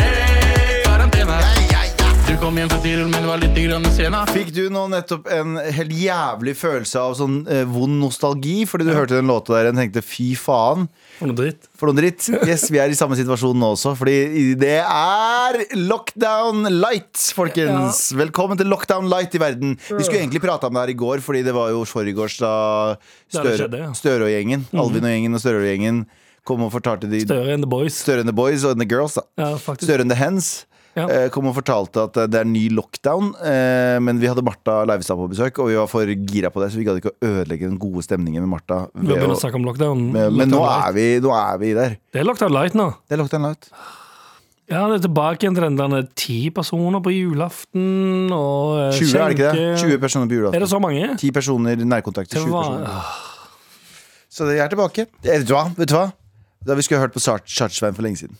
Hei, karantene! Ja, ja, ja. Du kom hjem fra Tyrol, men var litt grann sena. Fikk du nå nettopp en helt jævlig følelse av sånn eh, vond nostalgi fordi du hørte den låta der og tenkte fy faen, For noe dritt. for noe dritt? Yes, vi er i samme situasjon nå også, fordi det er lockdown light, folkens. Velkommen til lockdown light i verden. Vi skulle egentlig prata om det her i går, fordi det var jo forgårs da Der det Støre- skjedde, ja. Mhm. Støre og gjengen, Alvin og gjengen og Støre og gjengen kom og fortalte de Støre and the boys. Støre and the boys og the girls, da. Ja, faktisk. Støre and the Hens Ja. eh, kom og fortalte at eh, det er ny lockdown. eh, Men vi hadde Martha Leivestad på besøk, og vi var for gira på det, så vi gadd ikke å ødelegge den gode stemningen med Martha. Vi har ved begynt å- å snakke om lockdown. med, men nå er, vi, nå er vi der. Det er lockdown light nå. Det er lockdown light. Ja, det er tilbake igjen til den der ti personer på julaften og eh, 20, er det ikke det? skjenke. 20 personer på Er det julaften. så mange? 10 personer nærkontakter. Det 20 var, personer. ah, Så det- jeg er tilbake. Eh, Vet du hva? Vet du hva? Da vi skulle hørt på Sart- Sartsveien for lenge siden.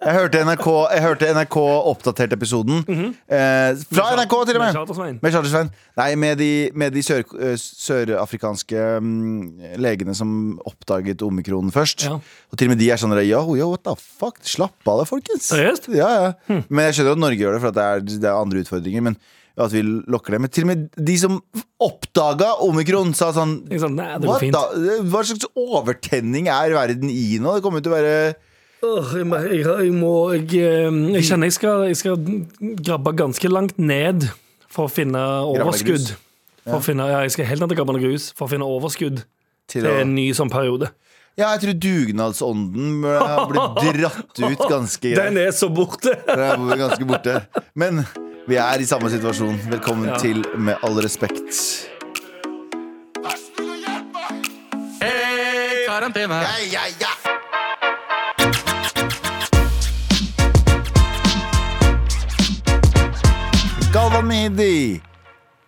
Jeg hørte NRK, jeg hørte NRK oppdatert episoden. eh, fra NRK, til og med! Mhm. med Charter-Svein. Med Charter Svein. Nei, med de, med de sør, eh, sørafrikanske mm, legene som oppdaget omikron først. Ja. Og til og med de er sånn der, Yo, yo, what the fuck? Slapp av deg, folkens. Seriøst? Ja, ja. Hm. Men jeg skjønner at Norge gjør det, for at det er, det er andre utfordringer. Men at vi lokker det. Men til og med de som oppdaga omikron, sa sånn Ikke sant? Nei, det What går fint. da? Hva slags overtenning er verden i nå? Det kommer jo til å være Åh, jeg, mer- jeg, jeg må jeg, eh, jeg kjenner jeg skal, jeg skal grabbe ganske langt ned for å finne overskudd. grus. For å finne, ja, jeg skal helt ned til grabbende grus for å finne overskudd til til å en ny sånn periode. Ja, jeg tror dugnadsånden har blitt dratt ut ganske greit. Den er så borte! Der er vi ganske borte. Men vi er i samme situasjon. Velkommen til Med all respekt. Hei, karantene! Ja, ja, ja. Galvan Mehidi,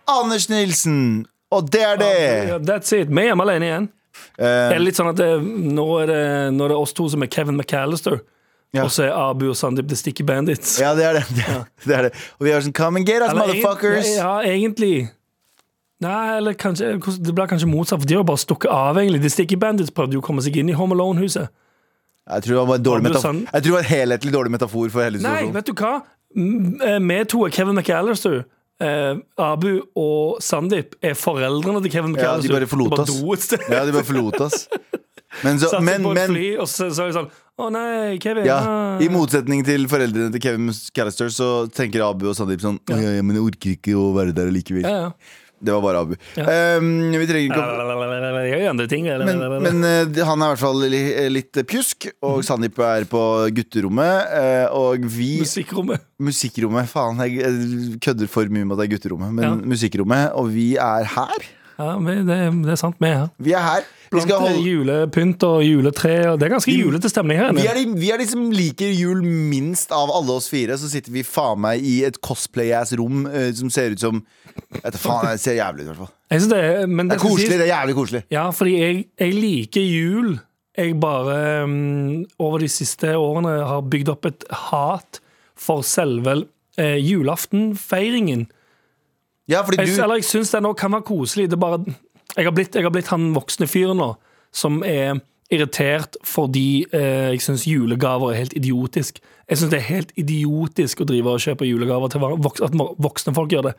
Anders Nilsen, og det er det! Ja, That's it. Vi er hjemme alene igjen. Eh, Er det litt sånn at det, nå, er det, nå er det oss to som er Kevin McAllister, Ja. og så er Abu og Sandeep The Sticky Bandits. ja, det er det. Det er, det er det. Og vi har sånn Come and get us, Eller egent- motherfuckers! Ja, egentlig. Nei, eller kanskje hvordan- Det blir kanskje motsatt, for de har jo bare stukket av, egentlig. The Sticky Bandits prøvde jo å komme seg inn i Home Alone-huset. Jeg tror det var, en dårlig Abu metafor. Sand- Jeg tror det var en helhetlig dårlig metafor for hele Nei, situasjonen. vet du hva? M- eh, Vi to er Kevin McAllister. Eh, Abu og Sandeep er foreldrene til Kevin Ja, de McAllister. bare forlot bare oss. do et sted. Ja, de bare forlot oss. Men, så, Satt seg men, på et men fly, og så sa de sånn Å nei, Kevin. ja, ah." I motsetning til foreldrene til Kevin Callister, så tenker Abu og Sandeep sånn ja. Ja, Men jeg orker ikke å være der allikevel. ja, ja. Det var bare Abu. Um, vi trenger ikke å Jeg gjør jo andre ting. men, Men, men eh, han er i hvert fall li, litt pjusk, og Sandeep er på gutterommet. eh, Og vi Musikkrommet. Musikkrommet. Faen, jeg jeg kødder for mye med at det er gutterommet, men Ja. musikkrommet. Og vi er her. Ja, men det, det er sant, vi er her. Vi er her. Vi, Blant skal holde, julepynt og juletre. Og det er ganske julete stemning her. vi, inne. er de, vi er de som liker jul minst av alle oss fire. Så sitter vi faen meg i et cosplay-ass rom eh, som ser ut som Jeg vet da faen, det ser jævlig ut, i hvert fall. Jeg synes det, er- men Det er skal koselig. sies- Det er jævlig koselig. Ja, fordi jeg, jeg liker jul. Jeg bare mm, over de siste årene har bygd opp et hat for selve eh, julaftenfeiringen. Ja, fordi Jeg, du Eller jeg syns den òg kan være koselig. Det er bare, jeg, har blitt, jeg har blitt han voksne fyren nå som er irritert fordi eh, jeg syns julegaver er helt idiotisk. Jeg syns det er helt idiotisk å drive og kjøpe julegaver til hver- voks, at mo- voksne folk gjør det.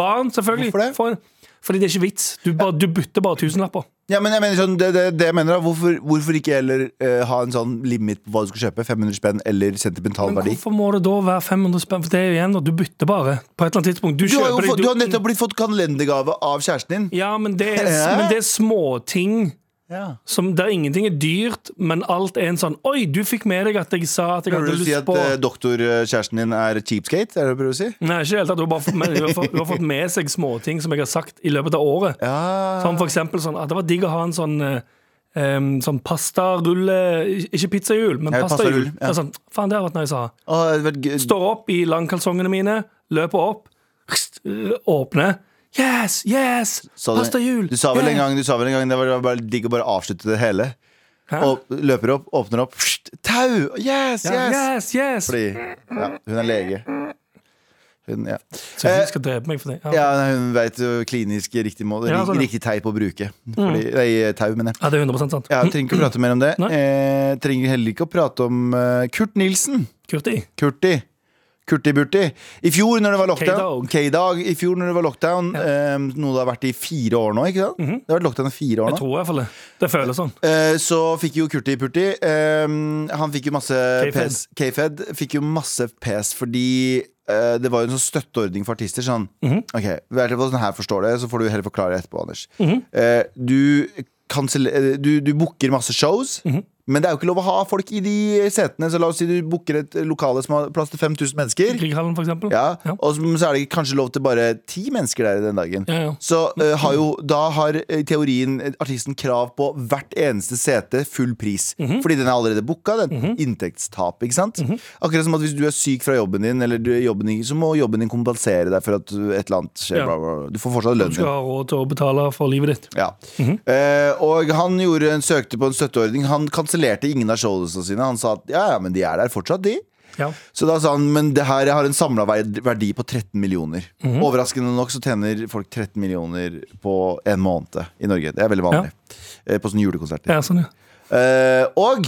Barn, selvfølgelig. Hvorfor det? For, fordi det er ikke vits. Du, bare, du bytter bare tusenlapper. Ja, men jeg mener sånn, det, det, det jeg mener da Hvorfor, hvorfor ikke heller eh, ha en sånn limit på hva du skal kjøpe? 500 spenn eller sentimental Men verdi? hvorfor må det da være 500 spenn? For det er jo igjen, da. Du bytter bare. På et eller annet tidspunkt. Du Du har, jo kjøper fått, deg- du har nettopp blitt fått kalendergave av kjæresten din. Ja, men det er, Hæ? men det er småting. som der ingenting er dyrt, men alt er en sånn Oi, du fikk med deg at jeg sa at jeg Prøver hadde du å lyst si at på eh, doktorkjæresten din er cheapskate? Er det det du prøver å si? Nei, ikke i det hele tatt. Hun har bare fått med- hun har fått- hun har fått med seg småting som jeg har sagt i løpet av året. Ja. Som for eksempel sånn at det var digg å ha en sånn eh, em, sånn pastarulle Ikke pizzahjul, men Ja, pastarull. pastarull, ja. Det er Sånn, Faen, det har vært nice å ha. Å, det hadde vært gøy. Står opp i langkalsongene mine, løper opp, hst, øh, åpner, Yes! Yes! Sa du- Pasta jul! Du sa vel en yeah. gang, du sa vel en gang det var det var bare digg å bare avslutte det hele. Hæ? Og løper opp, åpner opp. Pst, tau! Yes, Ja, yes! yes, yes! Fordi ja, hun er lege. Hun, ja. Så Eh, hun skal drepe meg for det. Ja. ja, nei, hun veit klinisk riktig, måte, Ja, sånn, ja. Mm. riktig teip å bruke. Fordi, Nei, tau, mener jeg. ja, det er 100 sant. Ja, trenger ikke å prate mer om det. Nei. Eh, trenger heller ikke å prate om eh, Kurt Nilsen. Kurti. Kurti. Kurti-burti. I fjor når det var lockdown, K-Dog. K-Dag, i fjor når det var lockdown eh, noe det har vært i fire år nå, ikke sant? Det har vært lockdown i fire år Mhm. Jeg nå. tror i hvert fall det. Det føles sånn. Eh, så fikk jo Kurti-purti eh, Han fikk jo masse K-Fed. pes. K-Fed fikk jo masse pes fordi eh, det var jo en sånn støtteordning for artister. Sånn, ok, vær til sånn her forstår det, så får du heller forklare etterpå, Anders. Eh, du, kansel- eh, du, du booker masse shows. Men det er jo ikke lov å ha folk i de setene. Så la oss si du booker et lokale som har plass til 5000 mennesker. Grieghallen, for eksempel. Ja, Ja. Og så så er det kanskje lov til bare ti mennesker der den dagen. Ja, ja. Så eh, har jo, da har eh, i teorien artisten krav på hvert eneste sete full pris. Mhm. Fordi den er allerede booka. Det er et inntektstap. ikke sant? Akkurat som at hvis du er syk fra jobben din, eller du, jobben din, så må jobben din kompensere deg for at et eller annet skjer. Ja. Bla, bla, bla. Du får fortsatt Du lønnen din. skal ha Mhm. råd til å betale for livet ditt. Ja. Eh, og han gjorde en, søkte på en støtteordning. Han kansellerte ingen av showene sine. Han sa at ja, ja, men de er der fortsatt, de. Ja. Så da sa han, men det her har en samla verdi på 13 millioner. Mhm. Overraskende nok så tjener folk 13 millioner på en måned i Norge. Det er veldig vanlig. Eh, På sånne julekonserter. ja, sånn, ja. Eh, og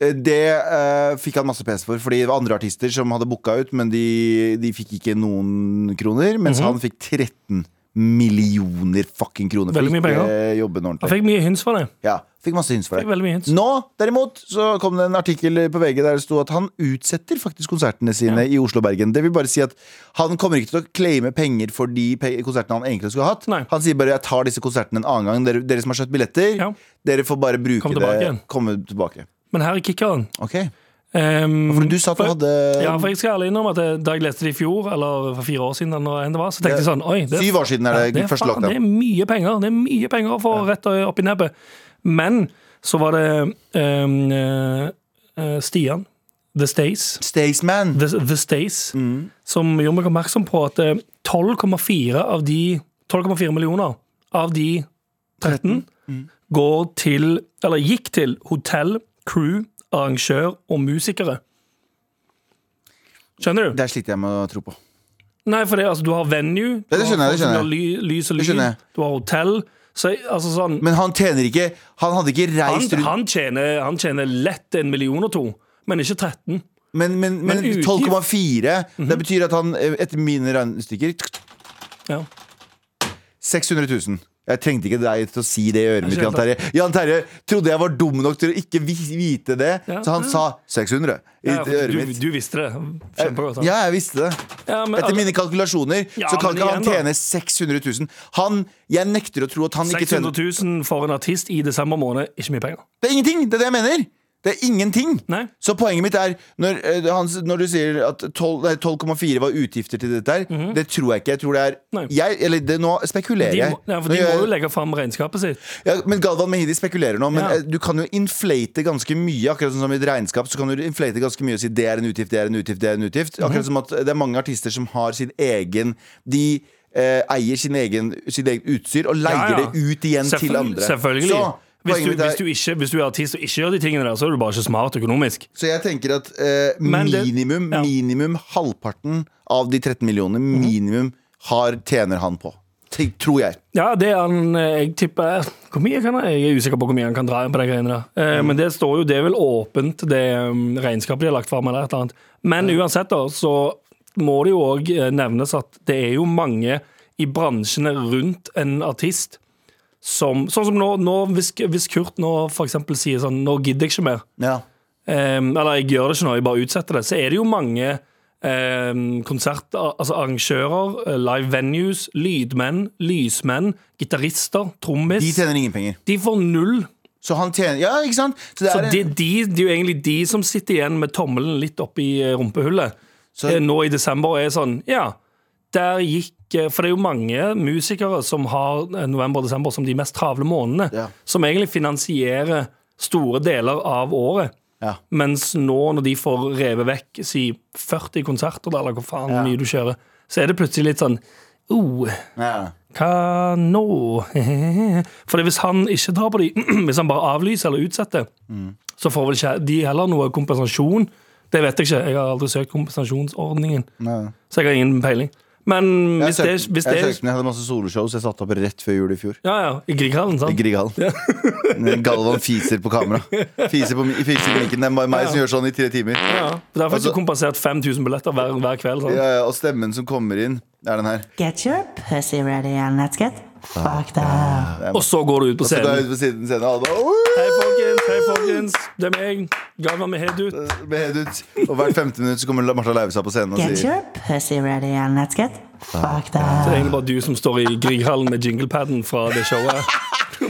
eh, det eh, fikk han masse pes for, fordi det var andre artister som hadde booka ut, men de, de fikk ikke noen kroner. Mens Mhm. han fikk 13 millioner fucking kroner for Veldig mye ikke penger. eh, jobben Jeg ordentlig. fikk mye hints for det. Ja, fikk masse hints for det. Fikk veldig mye hints. Nå, derimot, så kom det en artikkel på VG der det sto at han utsetter faktisk konsertene sine i Oslo og Bergen. Det vil bare si at han kommer ikke til å claime penger for de pe konsertene han egentlig skulle ha hatt. Nei. Han sier bare 'jeg tar disse konsertene en annen gang'. Dere, dere som har kjøpt billetter, Ja. dere får bare bruke Kom tilbake det. igjen. Komme tilbake. Men her er kickeren. Ok. Um, For du sa at du hadde Ja, for jeg skal ærlig innrømme at det- da jeg leste det i fjor, eller for fire år siden, eller enn det var, så tenkte jeg sånn Oi, det, Syv år siden er det, det, er, første faen, det er lockdown. mye penger. Det er mye penger å få rett opp i nebbet. Men så var det um, eh, eh, Stian, The Stays, Staysman. The, The Stays, som gjorde meg oppmerksom på at eh, 12,4 av de 12,4 millioner av de 13 går til, eller gikk til, hotell, crew, arrangør og musikere. Skjønner du? Der sliter jeg med å tro på. Nei, for det, altså, du har venue, Ja, det skjønner jeg, det du har folk som skjønner jeg. gjør ly, lys og Det skjønner jeg. lyd, du har hotell. Så, altså, sånn, Men han tjener ikke Han hadde ikke han, reist rundt han, tjener, han tjener lett en million og to, men ikke 13. Men, men, men, Men utgift- Mhm. 12,4 Det betyr at han, eh, etter mine regnestykker Ja. 600 000. Jeg trengte ikke deg til å si det i øret mitt. Jeg Jan Terje Jan Terje trodde jeg var dum nok til å ikke vi- vite det, Ja. så han sa 600 i Ja, øret du, mitt. du visste det. Kjempegodt. sant? Ja, jeg visste det. Ja, men Etter altså, alle- mine kalkulasjoner Ja, så kan men ikke han igjen da. tjene 600 000. Han, jeg nekter å tro at han ikke 600 tjener 000 for en artist i desember måned, ikke mye penger. Det er ingenting! Det er det jeg mener! Det er ingenting! Nei. Så poenget mitt er, når, eh, han, når du sier at 12 nei, 12,4 var utgifter til dette her, det tror jeg ikke. Jeg tror det er Mhm. Nei. jeg, Eller det, nå spekulerer De, jeg. må- ja, for Nå de gjør må jeg- jo legge fram regnskapet sitt. Ja, men Galvan Mehidi spekulerer nå, men Ja. eh, du kan jo inflate ganske mye. Akkurat som i et regnskap så kan du inflate ganske mye og si det er en utgift, det er en utgift, det er en utgift. Mhm. Akkurat som at eh, det er mange artister som har sin egen De eh, eier sin egen, sin egen utstyr og leier Ja, ja. det ut igjen Selvføl- til andre. Selvfølgelig. Så, hvis, poenget du, mitt er, hvis, du ikke, hvis du er artist og ikke gjør de tingene der, så er du bare ikke smart økonomisk. så jeg tenker at eh, Men det- minimum, ja. minimum halvparten av de 13 millionene, minimum har, tjener han på. Tenk- Tror jeg. Ja, det er han eh, Jeg tipper Hvor mye kan han Jeg er usikker på hvor mye han kan dra inn på de greiene der. Eh, Men det står jo Det er vel åpent, det um, regnskapet de har lagt fram, eller et eller annet. Men uansett, da, så må det jo òg nevnes at det er jo mange i bransjene rundt en artist som Sånn som nå, nå hvis, hvis Kurt nå f.eks. sier sånn Nå gidder jeg ikke mer. Ja. Em, Ehm, eller jeg gjør det ikke nå, jeg bare utsetter det, så er det jo mange em, konsert, altså arrangører, eh, live venues, lydmenn, lysmenn, gitarister, trommis. De De, tjener ingen penger. får null. Så han tjener Ja, ikke sant? Så det Så er en- det, er de, det er jo egentlig de som sitter igjen med tommelen litt opp i eh, rumpehullet Så- eh, nå i desember og er sånn Ja, der gikk eh, For det er jo mange musikere som har eh, november og desember som de mest travle månedene, Ja. som egentlig finansierer store deler av året. ja. Mens nå når de får revet vekk si 40 konserter, da, eller hva faen Ja. mye du kjører, så er det plutselig litt sånn Oh, Ja. Hva nå? For hvis han ikke tar på de Hvis han bare avlyser eller utsetter, Mm. så får vel ikke de heller noe kompensasjon. Det vet jeg ikke. Jeg har aldri søkt kompensasjonsordningen. Nei. Så jeg har ingen peiling. Men Jeg hvis det, søkte- hvis det jeg søkte, men jeg hadde masse soloshows jeg satte opp rett før jul i fjor. Ja, ja. I Grieghallen, I sant? Grieghallen. Galvan fiser på kamera. Fiser på, mi- fiser på mikken. Det er bare meg som gjør sånn i tre timer. Ja. Der fikk Altså- du kompensert 5000 billetter hver, hver kveld. Sant? Ja, ja, og stemmen som kommer inn, det er den her. Get your pussy ready and let's get fucked up. Og så går du ut på Så går jeg scenen. ut på siden scenen, og alle bare «Woo!» Hei, folkens. hei folkens Det er meg. Galvan med Hedut. Med head ut. Og hvert femte minutt så kommer Martha Leivestad på scenen og Get sier your pussy ready and let's get fucked up. Det er egentlig bare du som står i Grieghallen med jinglepaden fra det showet.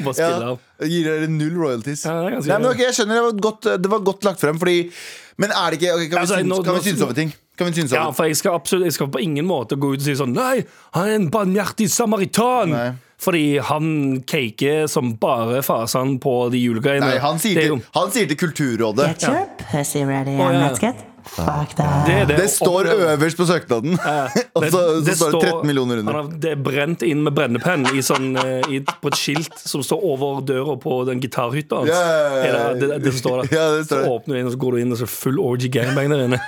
Bare spille ja, av. Gir dere null royalties. Ja, det er ganske Nei, men greit. ok, Jeg skjønner, det var godt, det var godt lagt frem, fordi Men er det ikke ok, Kan vi Altså, synes- nå- kan vi nå- synes over ting? Kan vi synes Ja, over for jeg skal absolutt Jeg skal på ingen måte gå ut og si sånn Nei, han er en barmhjertig samaritan! Nei. Fordi han caker som bare fasen på de julegreiene. Nei, han sier, det, er til, jo- han sier til Kulturrådet. Get your pussy ready Å, and ja. let's get fucked up. det, er det Det å står oppleve- øverst på søknaden. og så, så står det 13 millioner han under. har- Det er brent inn med brennepenn i sånn, eh, i, på et skilt som står over døra på den gitarhytta hans. Ja, ja, ja, ja. Er det, det, det som står der. Ja, det står der. Så åpner du inn, og så går du inn, og så er det full orgy gangbang der inne.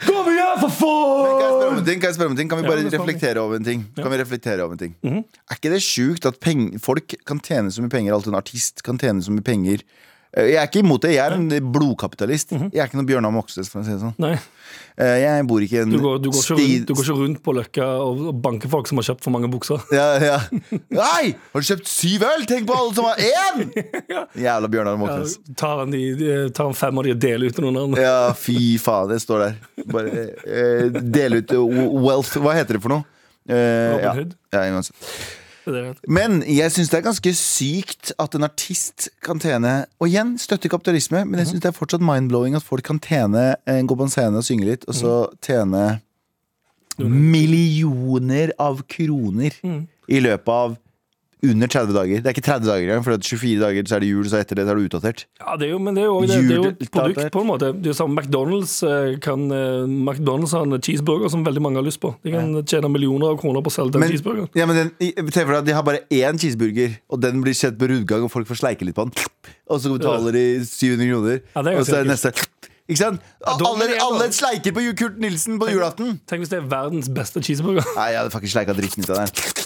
Kom igjen, for Kan jeg spørre faen! om en ting? Kan, jeg spørre om en ting? kan vi Ja, bare men spør om en ting. reflektere over en ting? Kan vi reflektere over en ting? Mhm. Er ikke det sjukt at peng, folk kan tjene så mye penger, alt en artist kan tjene så mye penger? Eh, Jeg er ikke imot det, jeg er en blodkapitalist. Mhm. Jeg er ikke noen Bjørnar Moxnes, for å si det sånn. Nei, Eh, Jeg bor ikke i en du går, du, går ikke sti- rundt, du går ikke rundt på Løkka og og banker folk som har kjøpt for mange bukser. Ja, ja. Nei! Har du kjøpt syv øl? Tenk på alle som har én! Jævla Bjørnar Ja, Moxnes. Tar han, de, de- tar han fem av de og deler ut til noen andre. Ja, fy faen, det står der. Bare eh, del ut eh, wealth Hva heter det for noe? Eh, Robin ja. Hood? Ja, uansett. Det er det. Men jeg syns det er ganske sykt at en artist kan tjene Og igjen, støtter kapitalisme, men jeg syns det er fortsatt mind-blowing at folk kan tjene eh, gå på en scene og synge litt, og så tjene millioner av kroner i løpet av under 30 dager. Det er ikke 30 dager engang, for det er 24 dager så er det jul, så etter det så er det utdatert. Ja, det er jo, men det er jo, det, det er jo et Juletartar. produkt, på en måte. Det er jo sånn McDonald's eh, kan eh, McDonald's har en cheeseburger som veldig mange har lyst på. De kan tjene millioner av kroner på å selge den Men, cheeseburgeren. ja, men den, i- se for deg at de har bare én cheeseburger, og den blir sett på rundgang, og folk får sleike litt på den. Og så betaler de 700 kroner, Ja, det er og så er det ganske neste. Ikke sant? da må Alle, de gjøre alle det. sleiker på Kurt Nilsen på julaften. Tenk hvis det er verdens beste cheeseburger. Nei, jeg hadde faktisk sleika dritten ut av den.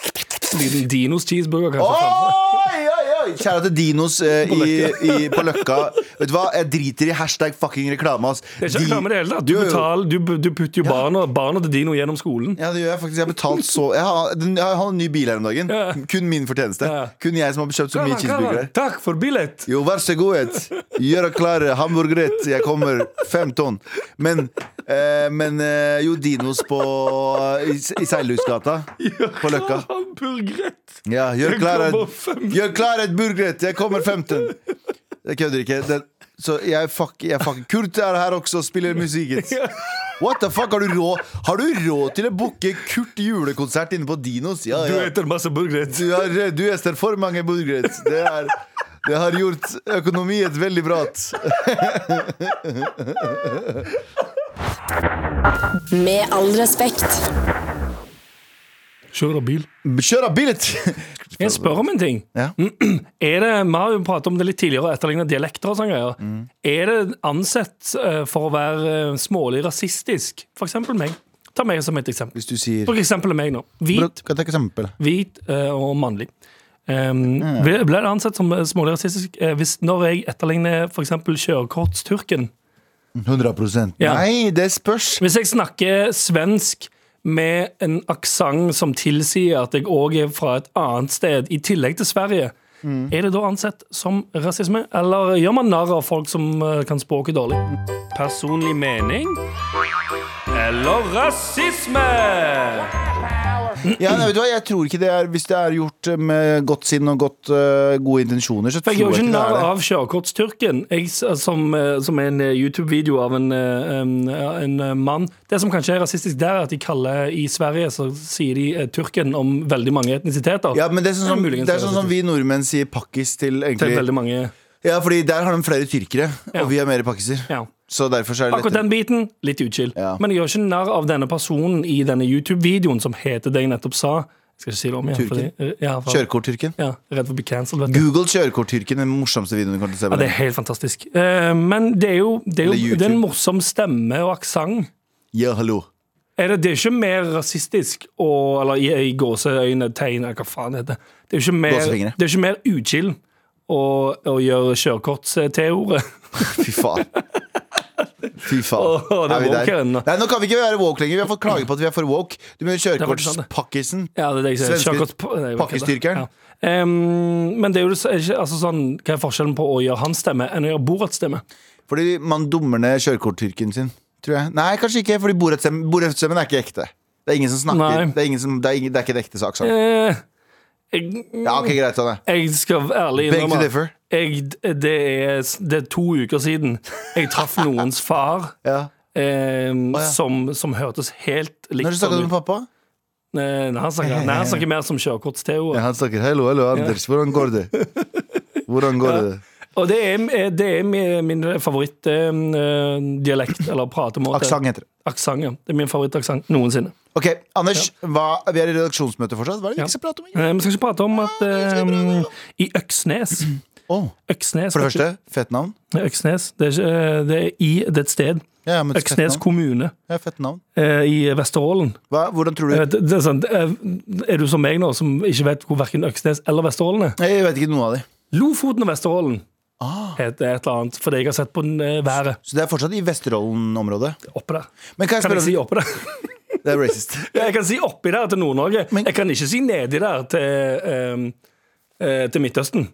En Liten Dinos cheeseburger, kanskje. Oi, oi, oi! Kjære til Dinos eh, i, i, på Løkka. Vet du hva, jeg driter i hashtag fucking reklame, ass. Det er ikke reklame i det hele tatt. Du, Jo, jo. betaler, du, du putter jo barna, barna til Dino gjennom skolen. Ja, det gjør jeg faktisk. Jeg har betalt så Jeg har, den- jeg har en ny bil her om dagen. Ja. Kun min fortjeneste. Ja. Kun jeg som har kjøpt så mye cheeseburgere. Takk for billett! Jo, vær så god. Gjør klar hamburgerrett. Jeg kommer. Fem tonn. Men, eh, men eh, jo, Dinos på, eh, i, i Seilhusgata på Løkka. Hamburgerrett! Ja, gjør Jeg klar, kommer fem. gjør klar et burgerrett. Jeg kommer 15. Jeg kødder ikke. Den, så jeg fuck, jeg fuck. Kurt er her også og spiller musikken. What the fuck? Har du råd Har du råd til å booke Kurt julekonsert inne på Dinos? Ja, Du ja. eter masse burgerrett. Du har, du gjester for mange burgere. Det, er- det har gjort økonomiet veldig bra. Med all respekt. Kjør da bil. Kjør av billet! Jeg spør om en ting. Ja. Er det, vi har jo pratet om det litt tidligere, og etterlignet dialekter og sånne greier. Mm. Er det ansett eh, for å være eh, smålig rasistisk? For eksempel meg. Ta meg som et eksempel. Hvis du sier For eksempel meg nå. Bra, Hvit, Kan jeg ta et eksempel? hvit eh, og mannlig. Um, Mm. ble ble det ansett som eh, smålig rasistisk eh, hvis, når jeg etterligner for eksempel kjørekortsturken? 100 Ja. Nei, det spørs. Hvis jeg snakker svensk med en aksent som tilsier at jeg òg er fra et annet sted, i tillegg til Sverige, Mm. er det da ansett som rasisme? Eller gjør man narr av folk som eh, kan språket dårlig? Personlig mening eller rasisme? Ja, nei, vet du hva? Jeg tror ikke det er Hvis det er gjort eh, med godt sinn og godt, eh, gode intensjoner, så tror Jeg jeg gjør ikke ikke det narr er det. av kjørekortsturken, jeg s- som, eh, som er en eh, YouTube-video av en, eh, en, en eh, mann. Det som kanskje er rasistisk der, er at de kaller i Sverige så sier de eh, turken om veldig mange etnisiteter. Ja, men det er sånn som, Det er muligens det er sånn som rasistisk. vi nordmenn sier pakkis til til egentlig veldig mange Ja, fordi der har de flere tyrkere, Ja. og vi har mer pakkiser. ja. Så derfor så er det Akkurat lettere. den biten, litt uchill. Ja. Men jeg gjør ikke narr av denne personen i denne YouTube-videoen som heter det jeg nettopp sa. skal ikke si det om igjen. Tyrken. fordi- eh, ja, for- Kjørekort-tyrken. Ja, redd for å bli cancelled. vet du. Google kjørekort-tyrken, den morsomste videoen du kommer til å se. Ja, på det er den. helt fantastisk. Eh, men det er jo, det er Eller jo YouTube. det er en morsom stemme og aksent. Ja, hallo. Er det, det er jo ikke mer rasistisk og, Eller i, i gåseøyne, tegn, eller hva faen det heter. Det er jo ikke mer, Gåsefingre. det er ikke mer uchill å, å gjøre eh, kjørekort-T-ordet. Fy faen. Fy faen. Åh, det er woke her ennå. Nei, nå kan vi ikke være woke lenger. Vi har fått klage på at vi er for woke. Du mener er faktisk sant, det. kjørekortspakkisen. Ja, det er det jeg sier. Svenske Kjørekort- nei, hva heter det? pakkestyrkeren. Ja. Em, men det er jo det- er ikke, altså sånn, hva er forskjellen på å gjøre hans stemme enn å gjøre Borats stemme? Fordi man dummer ned kjørekorttyrken sin, tror jeg. Nei, kanskje ikke, fordi borettsstemmen borettsstemmen er ikke ekte. Det er ingen som snakker. Nei. Det er, ingen som, det, er ingen, det er ikke en ekte sak. Sånn. Eh, jeg, Ja, ok, greit, Sanne. jeg skal ærlig Beg to innrømme differ. jeg, det, er, det er to uker siden jeg traff noens far. Ja. Eh, ja. som, som hørtes helt likt Når du snakket ut. med pappa? Nei, nei, han snakker, nei, han snakker mer som kjørekorts-Theo. Ja, han snakker 'hallo, hallo, Anders, hvordan går det?' Hvordan går det? Og det er, eh, det er min min favorittdialekt, eller pratemåte. Aksent heter det. Aksent, ja. Det er min favorittaksent noensinne. Ok, Anders, hva, vi er i redaksjonsmøte fortsatt. Hva er det vi ikke skal prate om? egentlig? Eh, Vi skal ikke prate om at eh, i Øksnes Åh, Øksnes for det første, fett navn. Øksnes. Det er, ikke, eh, det er i Det er et sted. Ja, men fett Øksnes navn. kommune Ja, fett navn. eh, i Vesterålen. Hva, hvordan tror du Eh, Det, det er, sånn, det er, er du som meg nå, som ikke vet hvor verken Øksnes eller Vesterålen er? Nei, Jeg vet ikke noe av det. Lofoten og Vesterålen Ah. heter et eller annet, fordi jeg har sett på den, eh, været Så det er fortsatt i Vesterålen-området. oppe der. Men kan jeg Kan spørre jeg si om oppe der? Det er racist. Ja, Jeg kan si oppi der til Nord-Norge. Men- Jeg kan ikke si nedi der til, ehm, eh, til Midtøsten.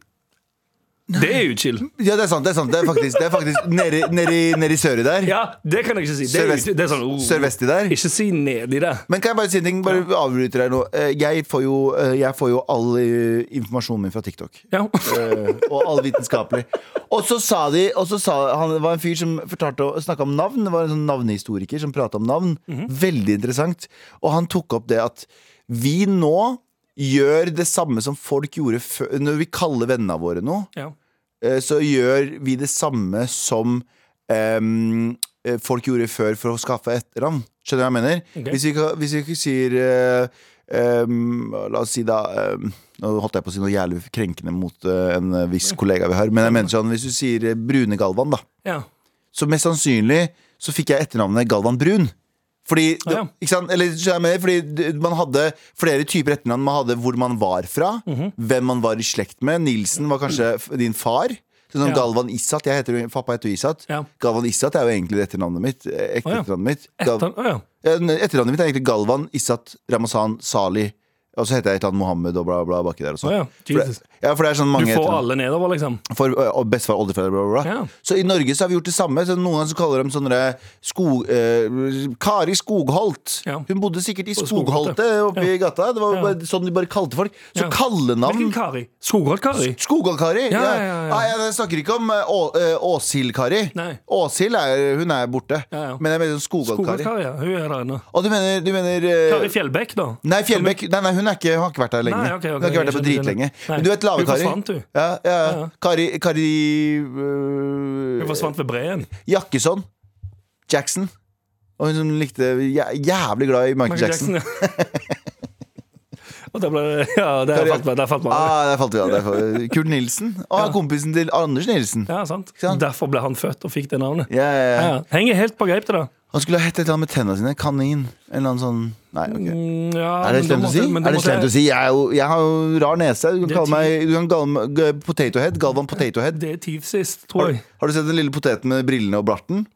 Det er uchill. Ja, det er sant. det er sant Det er faktisk, det er faktisk nedi, nedi, nedi søri der. Ja, det kan jeg ikke si. Det er, Sørvest- uchill. det er sånn oh, Sørvesti der. Ikke si nedi der. Men kan jeg bare si en ting? Bare avbryter deg nå. Eh, Jeg får jo, eh, jeg får jo all eh, informasjonen min fra TikTok. Ja. Eh, og all vitenskapelig. Og så sa de og så sa, Han det var en fyr som snakka om navn. Det var en sånn navnehistoriker som prata om navn. Veldig interessant. Og han tok opp det at vi nå gjør det samme som folk gjorde før Når vi kaller vennene våre noe, ja. eh, så gjør vi det samme som ehm, eh, folk gjorde før for å skaffe etternavn. Skjønner du hva jeg mener? Ok. Hvis, vi, ka- hvis vi ikke sier eh, ehm, La oss si da ehm, Nå holdt jeg på å si noe jævlig krenkende mot eh, en eh, viss kollega vi har, men jeg mener sånn, hvis du sier eh, Brune Galvan, da, ja. så mest sannsynlig så fikk jeg etternavnet Galvan Brun. Fordi, Ah, ja. ikke sant? Eller, skjønner jeg mener, fordi d- man hadde flere typer etternavn. Man hadde hvor man var fra, hvem man var i slekt med. Nilsen var kanskje f- din far. Sånn som Ja. Galvan Isat. Jeg heter, jo- pappa heter jo Isat. Ja. Galvan Isat er jo egentlig det etternavnet mitt. eh, Ekte Å, ja. etternavnet mitt. Gal- Etter, å, ja. Ja, n- etternavnet mitt er egentlig Galvan Isat Ramazan Sali. Og så heter jeg et eller annet Mohammed og bla, bla, baki der. Og sånn. Å, ja. For det, Jesus. ja, for det er sånn Du mange får etternavn. alle nedover, liksom. For ø, og bestefar, oldefar, bla, bla, bla. Ja. Så i Norge så har vi gjort det samme. Så noen ganger så kaller de sånne der skog, eh, Kari Skogholt. Ja. Hun bodde sikkert i Skogholt, Skogholtet oppi Ja. gata. Det var Ja. bare sånn de bare kalte folk. Så Ja. Hvilken kallenavn Kari? Skogholt-Kari? Skogholt-Kari? Ja, ja, ja, ja. Nei, jeg snakker ikke om eh, Å- eh, Åshild-Kari. Nei. Åshild er, hun er borte. Ja, ja. Men jeg mener sånn Skogholt-Kari. Skogholt-Kari, ja. Hun er der inne. Og du mener, du mener eh, Kari Fjellbekk, da. Nei, Fjellbekk nei, nei, hun, er ikke, hun har ikke vært der lenge. Nei, ok, ok, hun har ikke vært der på jeg skjønner, dritlenge. skjønner. Nei, Men du vet hun Lave Kari? forsvant, hun. Ja, ja, ja. Ja, ja. Kari, Kari Hun øh, forsvant ved breen. Jakkesson. Jackson. Og hun som likte jæ- Jævlig glad i Michael Jackson. ja. Og der ble det Ja, der Kari- falt man- der falt man. Ah, der falt vi av. der falt- Kurt Nilsen. Og han er kompisen til Anders Nilsen. Ja, sant. sant? Derfor ble han født og fikk det navnet. Ja, ja, ja. Ja, henger helt på greip til det. Han skulle ha hett et eller annet med tennene sine. Kanin. En eller annen sånn Nei, ok. Mm, ja, Er det men da slemt å måtte- si? men da Er det måtte- slemt å si? Jeg, er jo, jeg har jo rar nese. Du kan Det er kalle meg, du kan kalle meg g- Potato Head. Galvan Potato Head. Det er tid sist, tror Har, jeg. har du sett den lille poteten med brillene og barten?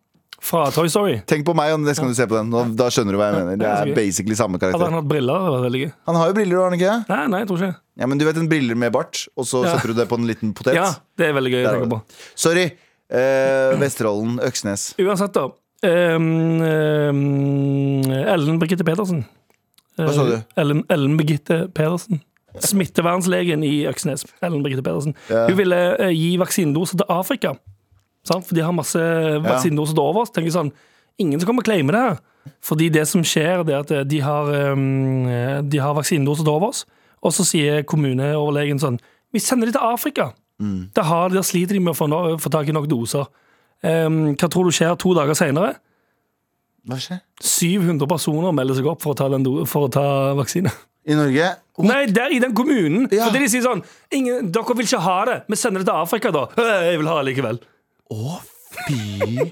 Fra Toy Story. Tenk på meg og neste gang du ser på den. Nå, da skjønner du hva jeg mener. Det Ja, det er er så gøy. basically samme Hadde karakter. han hatt briller, hadde det vært veldig gøy. Han har jo briller, har han ikke det? Nei, nei, jeg tror ikke det. Ja, men du vet en briller med bart, og så Ja. setter du det på en liten potet? Ja, det er veldig gøy å Der var tenke på. det. Sorry. Eh, Vesterålen, Øksnes. Uansett, da. ehm, ehm, Ellen Birgitte Pedersen. Eh, Hva sa du? Ellen, Ellen Birgitte Pedersen. Smittevernlegen i Øksnes. Ellen Birgitte Pedersen. Hun ville eh, gi vaksinedoser til Afrika. Sant? For de har masse vaksinedoser til overs. Tenker jeg sånn, Ingen som kommer og claime det her. Fordi det som skjer, det er at eh, de har, um, eh, de har vaksinedoser til overs, og så sier kommuneoverlegen sånn Vi sender de til Afrika. Da, har, da sliter de med å få, no få tak i nok doser. Ehm, hva tror du skjer to dager seinere? Hva skjer? 700 personer melder seg opp for å ta, den do for å ta vaksine. i Norge. Nei, der i den kommunen. Ja. Fordi de sier sånn Ingen, Dere vil ikke ha det. Vi sender det til Afrika, da. «Øh, Jeg vil ha det likevel. Å, fy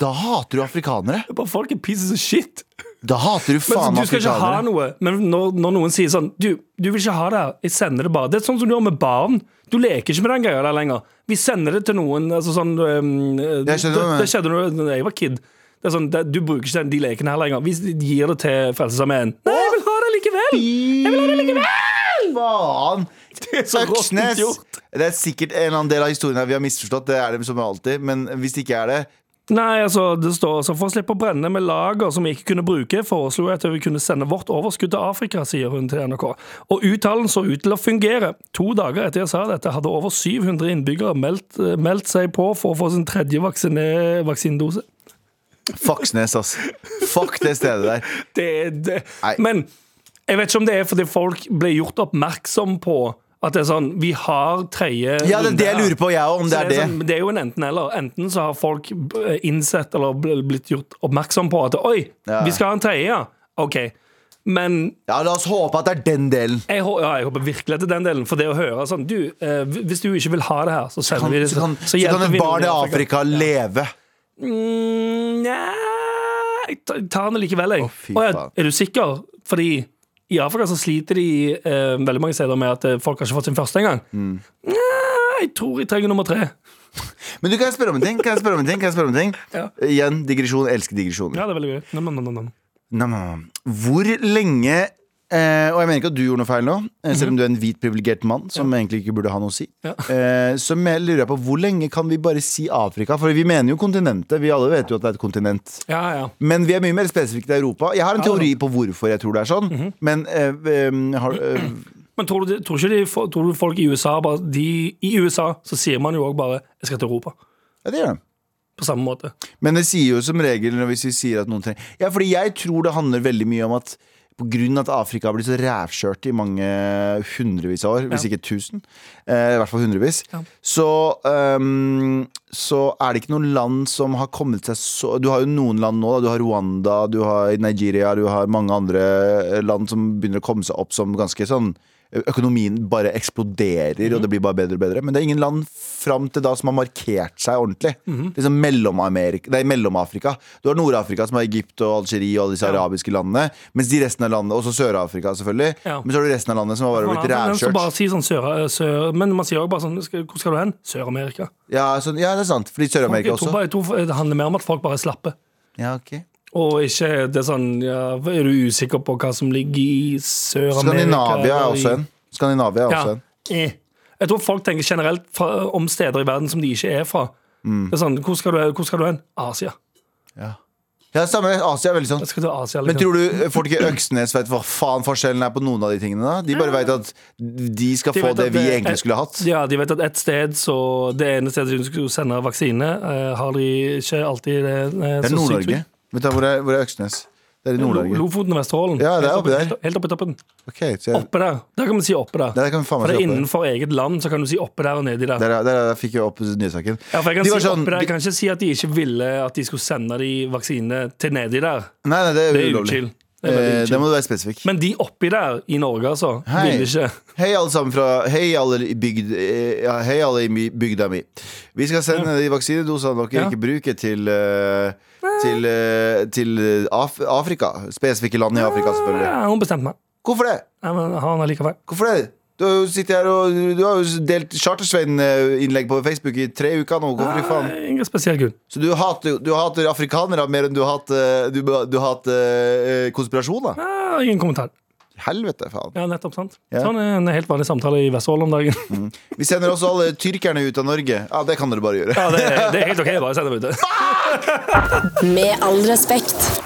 Da hater du afrikanere. Det er bare folk er pieces of shit. Da hater du Men så, faen du skal ikke ha afrikanere. noe. Men når, når noen sier sånn du, du vil ikke ha det, her. jeg sender det bare. Det er sånn som du gjør med barn. Du leker ikke med den greia der lenger. Vi sender det til noen altså sånn, øhm, Jeg skjønner det, hva du det skjedde når- da jeg var kid. Det er sånn, det, du bruker ikke den, de lekene her lenger. Vi gir det til Frelsesarmeen. Nei, jeg vil ha det likevel! Jeg vil ha det likevel! Faen! Det er så råttent Øksnes! gjort. Det er sikkert en eller annen del av historien her vi har misforstått. Det er det som alltid. Men hvis det ikke er det Nei, altså, det står så for å slippe å brenne med lager som vi ikke kunne bruke, foreslo jeg at vi kunne sende vårt overskudd til Afrika, sier hun til NRK. Og uttalen så ut til å fungere. To dager etter jeg sa dette, hadde over 700 innbyggere meldt, eh, meldt seg på for å få sin tredje vaksine, vaksinedose. Faksnes, ass. Fuck det stedet der. Det, det. Nei. Men jeg vet ikke om det er fordi folk ble gjort oppmerksom på at det er sånn, vi har tredje Ja, det er det jeg runde her. lurer på, jeg òg, om Så det er det. Sånn, det er jo en enten-eller. Enten så har folk eh, innsett eller bl- blitt gjort oppmerksom på at Oi, Ja. vi skal ha en tredje, ja. OK. Men Ja, la oss håpe at det er den delen. jeg, hå- ja, jeg håper virkelig etter den delen. For det å høre sånn Du, eh, hvis du ikke vil ha det her, så sender Kan, vi det så, kan, så hjelper kan vi et barn noen i Afrika leve. Mm, Nja Jeg ta- tar den likevel, jeg. fy Å, ja, faen. er du sikker? Fordi i Afrika så sliter de eh, veldig mange steder med at eh, folk har ikke fått sin første engang. Mm. Jeg tror jeg trenger nummer tre. Men du kan jeg spørre om en ting? Kan jeg spørre om en ting? Kan jeg spørre om en ting? Ja. Igjen, digresjon. Elsker digresjoner. Ja, det er veldig gøy. Nam, nam, nam, nam. Nam, nam, nam. Hvor lenge eh, Og jeg mener ikke at du gjorde noe feil nå, eh, selv om du er en hvit, privilegert mann som egentlig ikke burde ha noe å si. Mhm. Ja. Eh, så me- lurer jeg på hvor lenge kan vi bare si Afrika? For vi mener jo kontinentet. Vi alle vet jo at det er et kontinent. Ja, ja. Men vi er mye mer spesifikke til Europa. Jeg har en Ja, Mhm. teori på hvorfor jeg tror det er sånn. Men eh, eh, har, eh, Men tror du, tror ikke de, tror du folk i USA bare de, I USA så sier man jo òg bare 'jeg skal til Europa'. Ja, det gjør de. På samme måte. Men det sier jo som regel når hvis vi sier at noen trenger Ja, fordi jeg tror det handler veldig mye om at på grunn av at Afrika har blitt så rævkjørt i mange hundrevis av år, hvis ikke tusen, eh, i hvert fall hundrevis, Ja. så, ehm, så er det ikke noen land som har kommet seg så Du har jo noen land nå, da. Du har Rwanda, du har Nigeria, du har mange andre eh, land som begynner å komme seg opp som ganske sånn Økonomien bare eksploderer, Mhm. og det blir bare bedre og bedre. Men det er ingen land fram til da som har markert seg ordentlig. Mhm. Liksom Mellom-Amerika Nei, Mellom-Afrika. Du har Nord-Afrika, som har Egypt og Algerie og alle disse arabiske landene. Mens de resten av landet, også Sør-Afrika, selvfølgelig. Ja. Men så har du resten av landet som har bare Man har blitt tendens til å bare rævkjørt. si sånn sør, sør, Men man sier òg bare sånn skal, 'Hvor skal du hen?' Sør-Amerika. Ja, sånn, ja, det er sant. Fordi Jeg, Sør-Amerika tror også. bare- jeg tror det handler mer om at folk bare er slappe. Ja, ok Og ikke det er sånn ja, Er du usikker på hva som ligger i Sør-Amerika? Skandinavia er eller i- også en. Skandinavia er også Ja. en. Eh. Jeg tror folk tenker generelt fra, om steder i verden som de ikke er fra. Mm. Det er sånn, hvor skal, du, hvor skal du hen? Asia. Ja, samme Asia er veldig sånn. Jeg skal til Asia. Men liksom. tror du folk i Øksnes vet hva faen forskjellen er på noen av de tingene? da? De bare vet at de skal De få vet det at vi det- egentlig skulle hatt. Ja, de vet at et sted så Det ene stedet de skulle sende vaksine, eh, har de ikke alltid det. eh, Det så er sykt Nord-Norge. ut. Vet du hvor er, hvor er Øksnes? Det er i Lo- Nord-Norge. Lofoten og Vesterålen. Ja, det er Helt oppe der. helt- Helt oppe i toppen. Ok, så jeg, Oppe der. Der kan vi si oppe der. der kan vi faen For meg det se er opp der. innenfor eget land, så kan du si oppe der og nedi der. Der, der, der fikk jeg opp nyhetssaken. Ja, for jeg kan, De si var sånn- oppe der. jeg de- kan ikke si at de ikke ville at de skulle sende de vaksine til nedi der. Nei, nei, det Det er er ulovlig. uchill. Det er veldig Eh, uchill. Det må du være spesifikk. Men de oppi der, i Norge altså, Hei. ville ikke. Hei alle sammen fra Hei alle i bygd, eh, ja, hei alle i mi- bygda mi. Vi skal sende de vaksinedosene dere Ja. ikke bruker til eh, til, eh, til eh, Af Afrika. Spesifikke land i Afrika, selvfølgelig. Ja, hun bestemte meg. Hvorfor det? Ja, men har han allikevel. Hvorfor det? Du har jo sittet her og Du har jo delt Chartersvein-innlegg på Facebook i tre uker nå. Hvorfor i faen? Nei, Ingen spesiell grunn. Så du hater, du hater afrikanere mer enn du hater, du, du hater eh, konspirasjon, da? Ja, ingen kommentar. Helvete, faen. Ja, nettopp, sant? Ja. Mm. Sånn er en helt vanlig samtale i Vesterålen om dagen. Vi sender også alle tyrkerne ut av Norge. Ja, det kan dere bare gjøre. Ja, det, det er helt ok, bare send dem ut. Med all respekt.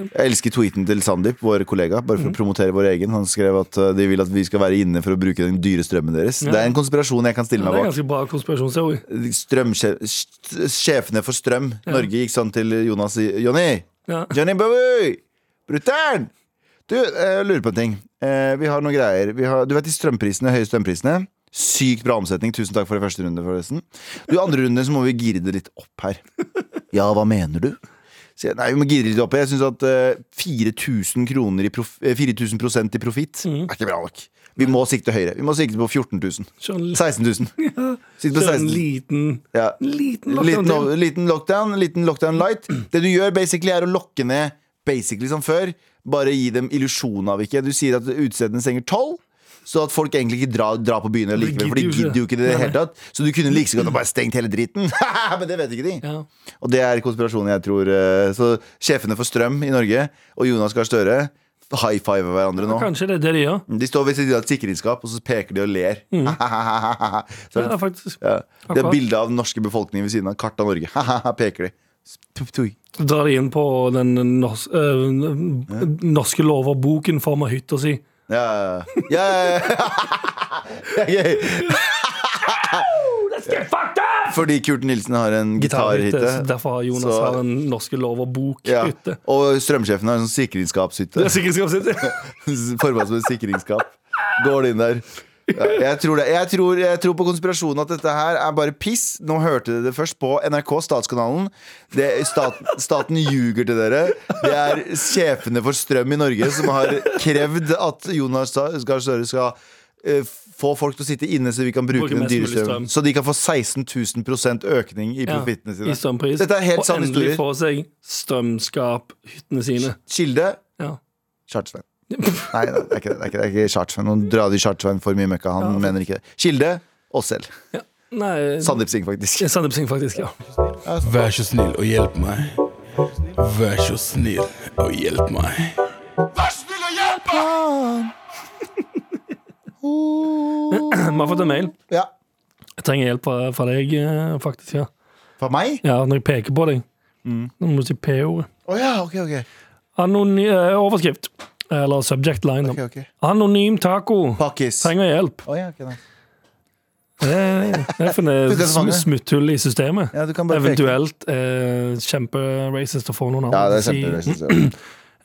Jeg elsker tweeten til Sandeep, vår kollega, bare for Mhm. å promotere vår egen. Han skrev at eh, de vil at vi skal være inne for å bruke den dyre strømmen deres. Det er en konspirasjon jeg kan stille Det meg er bak. ganske bra konspirasjonsteori. Strømsje- sj- Sjefene for strøm. Norge gikk sånn til Jonas i- Jonny! Ja. Johnny Bowie! Brutter'n! Du, eh, jeg lurer på en ting. Eh, Vi har noen greier. Vi har, du vet de strømprisene, høye strømprisene? Sykt bra omsetning. Tusen takk for det første runde, forresten. Du, i andre runde så må vi gire det litt opp her. Ja, hva mener du? Så jeg, nei, men gidder ikke opp i. Jeg syns at eh, 4000 kroner i prof, eh, 4000 prosent i profitt er ikke bra nok. Vi må sikte høyere. Vi må sikte på 14 000. Kjør en, 16 000. Sikt på kjør en 16 000. liten, Ja. liten lockdown. Liten, til. over- liten lockdown, liten lockdown light. Det du gjør, basically er å lokke ned basically som før. Bare gi dem illusjon av ikke. Du sier at utestedene stenger tolv. Så at folk egentlig ikke drar, drar på byen likevel, for de gidder jo ikke det i det hele tatt. Så du kunne like så godt ha bare stengt hele driten. Men det vet ikke de. Ja. Og det er konspirasjonen jeg tror. eh, Så sjefene for strøm i Norge og Jonas Gahr Støre high five hverandre nå. Kanskje det er det de gjør. De står ved siden av et sikkerhetsskap, og så peker de og ler. så Mm. Ja, det er faktisk. ja. De har Akkurat. bilde av den norske befolkningen ved siden av. Kart av Norge. Peker de. Tup, tui. Så drar de inn på den nors øh, norske lover-boken form av hytta si. Ja, ja, ja. ja, ja. Gøy. Fordi Kurt Nilsen har en Gitarhytte. så gitarhytte. Derfor har Jonas Så- har en norske Ja. lover-bok-hytte. Og strømsjefen har en sånn Det sikringsskapshytte. er sikkerhetsskapet sitt. Forma som et sikringsskap. Går det inn der. Ja, jeg, tror det. Jeg, tror, jeg tror på konspirasjonen at dette her er bare piss. Nå hørte dere det først på NRK, Statskanalen. Det, staten, staten ljuger til dere. Det er sjefene for strøm i Norge som har krevd at Jonas Gahr Støre skal eh, få folk til å sitte inne så vi kan bruke Bruke den mest mulig dyre strømmen. strøm. Så de kan få 16 000 prosent økning i Ja, profittene I sine. strømpris. Dette er helt og sann endelig historie. få seg strømskaphyttene sine. Kilde Ja. Chartsveien. Nei, det er ikke det. det, er ikke, det er ikke Chartsveien. Nå drar de Chartsveien for mye møkka. Han mener ikke det. Kilde oss selv. Nei Sandeep Singh, faktisk. Sandeep Singh, faktisk. ja Vær så snill og hjelp meg. Vær så snill og hjelp meg. Vi har fått en mail. Ja. Jeg trenger hjelp fra- fra deg, eh, faktisk. ja For meg? Ja, når jeg peker på deg. Nå må du si P-ordet. Å ja, ok, ok. Anony eh, overskrift. Eller subject line. da. Ok, ok. Anonym taco. Pakkis. Å Trenger hjelp. ja, ok, nei. Det er- det er for Du det kan fange. sm- smutthull i systemet. Ja, du kan bare peke. Eventuelt eh, kjemperacist å få noen Ja, andre det er til å si- kjemperacist.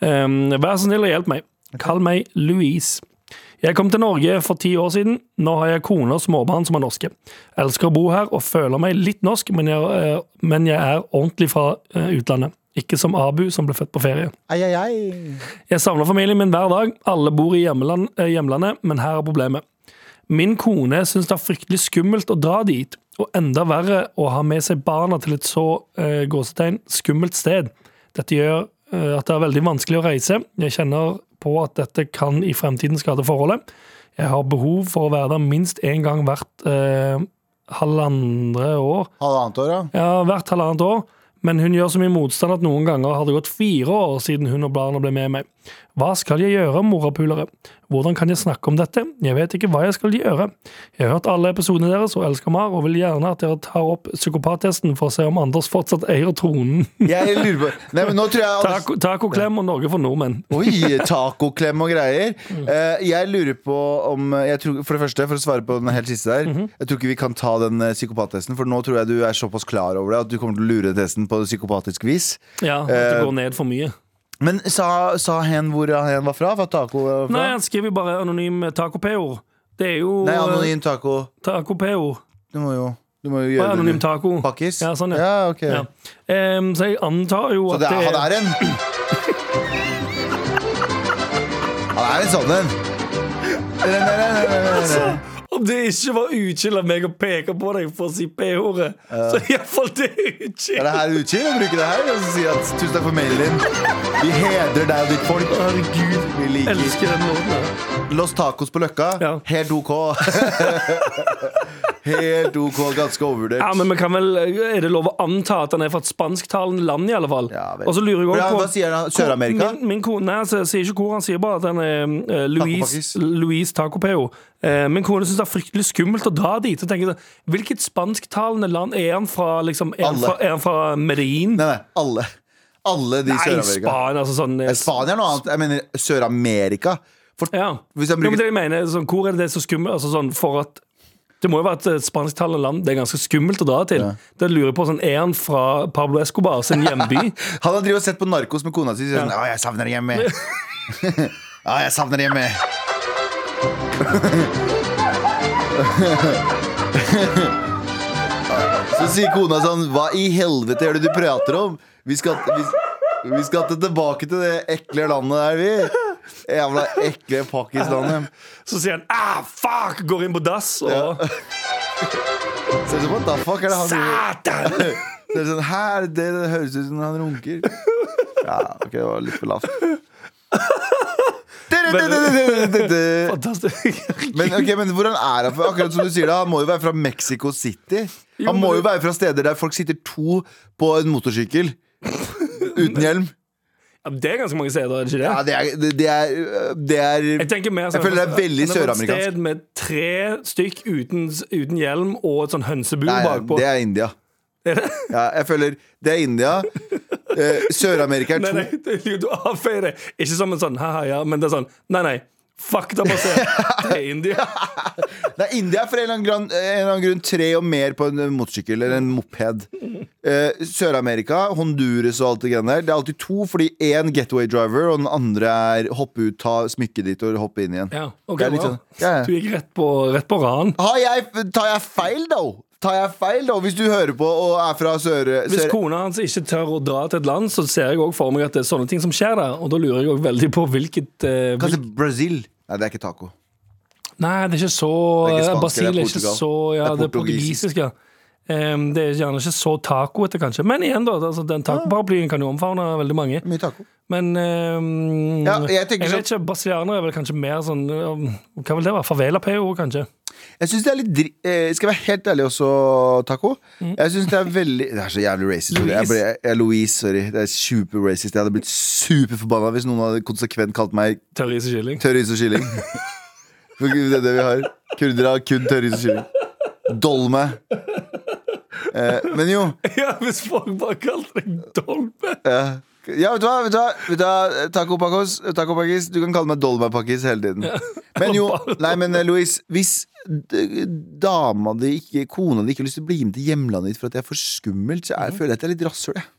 Um, vær så snill og hjelp meg. Kall meg Louise. Jeg kom til Norge for ti år siden. Nå har jeg kone og småbarn som er norske. Elsker å bo her og føler meg litt norsk, men jeg, eh, men jeg er ordentlig fra eh, utlandet. Ikke som Abu, som ble født på ferie. Ai, ai, ai. Jeg savner familien min hver dag. Alle bor i hjemland, eh, hjemlandet, men her er problemet. Min kone syns det er fryktelig skummelt å dra dit, og enda verre å ha med seg barna til et så eh, gåsetegn skummelt sted. Dette gjør eh, at det er veldig vanskelig å reise. Jeg kjenner på at dette kan i fremtiden skade forholdet. Jeg har behov for å være der minst én gang hvert eh, halvandre år. Halvannet år, da? Ja, hvert halvannet år. Men hun gjør så mye motstand at noen ganger har det gått fire år siden hun og barna ble med meg. Hva skal jeg gjøre, morapulere? Hvordan kan jeg snakke om dette? Jeg vet ikke hva jeg skal gjøre. Jeg har hørt alle episodene deres og elsker mer, og vil gjerne at dere tar opp psykopattesten for å se om Anders fortsatt eier tronen. Jeg lurer på Nei, men nå tror jeg Anders- Taco- Tacoklem og Norge for nordmenn. Oi, tacoklem og greier. Mm. Eh, jeg lurer på om jeg tror, For det første, for å svare på den helt siste der. Mhm. Jeg tror ikke vi kan ta den eh, psykopattesten, for nå tror jeg du er såpass klar over det at du kommer til å lure testen på psykopatisk vis. Ja, at det Eh, går ned for mye. Men sa, sa hen hvor hen var fra? Fra taco? eh, Fra? Nei, altså, han skriver jo bare anonym taco-peo. Det er jo eh, Nei, anonym taco. taco-peo. Du må jo, du må jo gjøre det. Anonym du. taco. Pakkis? Ja, sånn, ja. ja ok. Ja. Em, så jeg antar jo Så at det er, han er en Han er en sånn en. Om det ikke var utskill av meg å peke på deg for å si p-ordet, så iallfall det er Er utskill. det her utkild å bruke det her? Og så sier at tusen takk for mailen din. Vi hedrer deg og ditt folk. Herregud, vi Jeg liker elsker den låten. der. Los Tacos på Løkka. Ja. Helt OK. Helt OK, ganske Ja, overvurdert. men vi kan vel, Er det lov å anta at han er fra et spansktalende land, i alle fall? Ja, vel. og så lurer jeg For også han- på hva sier han? Sør-Amerika? Min, min kone, nei, så jeg sier ikke hvor han sier, bare at han er eh, Louise, Tacopakkis. Louise Tacopeo. Eh, min kone syns det er fryktelig skummelt å dra dit. Og tenker, jeg sånn, Hvilket spansktalende land er han fra? Liksom, er, han Alle. fra er han fra Medellin? Nei, nei, alle. Alle de i Nei, Sør-Amerika. Spania. Altså sånn, eh, Spania er noe annet. Jeg mener Sør-Amerika. For Ja. Hvis han Jo, men bruker det jeg mener, er sånn, hvor er det det er så skummelt? Altså, sånn, for at det må jo være et eh, spansktalende land det er ganske skummelt å dra til. Da lurer jeg på, sånn, Er han fra Pablo Escobar sin hjemby? Han har drevet og sett på Narkos med kona si. og sier Sånn, Å, jeg savner deg hjemme. Å, jeg savner deg hjemme. Så sier kona sånn Hva i helvete er det du prater om? Vi skal, vi, Vi skal til tilbake til det ekle landet der, vi. Jævla ekle Pakistanet. Så sier han ah, fuck! Går inn på dass og Ser ut som what the fuck er det han gjør? Satan! Ser ut som, Hæ, er sånn, det det det høres ut som når han runker? Ja, ok, det var litt for lavt. Fantastisk. Men, ok, men hvor han er han fra? Akkurat som du sier det, Han må jo være fra Mexico City. Han må jo være fra steder der folk sitter to på en motorsykkel uten hjelm. Ja, det er ganske mange steder, er det ikke det? Ja, det er, det- det er, det er Jeg tenker mer sånn- Jeg føler det er veldig sånn et søramerikansk. sted med tre stykk uten, uten hjelm og et sånn hønsebu Nei, bakpå. det er India. Ja, jeg føler Det er India. Eh, Sør-Amerika er Nei, to. nei, det- du avfeier det. Ikke som en sånn ha-ha, ja, men det er sånn nei, nei. Fakta basert. Det er India. Nei, India er for en eller annen grunn, en eller annen grunn tre og mer på en motorsykkel eller en moped. Eh, Sør-Amerika, Honduras og alt det greiene der. Det er alltid to, fordi én getaway driver, og den andre er hoppe ut, ta smykket ditt og hoppe inn igjen. Ja, ok, Det er litt wow. sånn. Ja, ja. Du gikk rett på, rett på ran. Har jeg, tar jeg feil, da? Tar jeg feil, da? Hvis du hører på og er fra sør... Hvis sør kona hans ikke tør å dra til et land, så ser jeg også for meg at det er sånne ting som skjer der. Og da lurer jeg også veldig på hvilket eh, kanskje hvil- Brazil? Nei, det er ikke taco. Nei, det er ikke så eh, Det er ikke spansk, Brasil det er er ikke Portugal. så Ja, Det er det er portugisisk, ja. Em, det er gjerne ikke så tacoete, kanskje. Men igjen, da. Altså, den tacoparaplyen kan jo omfavne veldig mange. Mye taco. Men em, Ja, jeg tenker sånn- vet ikke, brasilianere er vel kanskje mer sånn um, Hva vil det være? Favela-PO, kanskje? Jeg synes det er litt dri eh, Skal jeg være helt ærlig også, Taco? Jeg synes det er veldig Det er så jævlig racist. Louise. Jeg ble, jeg, Louise, sorry. Det er super racist. Jeg hadde blitt superforbanna hvis noen hadde konsekvent kalt meg Tørris og kylling. tørr is og kylling. For Gud, det er det vi har. Kurdere har kun tørr is og kylling. Dolme. Eh, men jo Ja, hvis folk bare kalte deg dolpe! eh, Ja, vet du hva? Vet du hva? Vet du hva? Taco Pacos, Taco Pakis. Du kan kalle meg Dolma-Pakis hele tiden. Men jo, nei, men eh, Louise, hvis d- dama di ikke, kona di ikke har lyst til å bli med til hjemlandet ditt for at det er for skummelt, så er, føler jeg at jeg er litt rasshøl, jeg.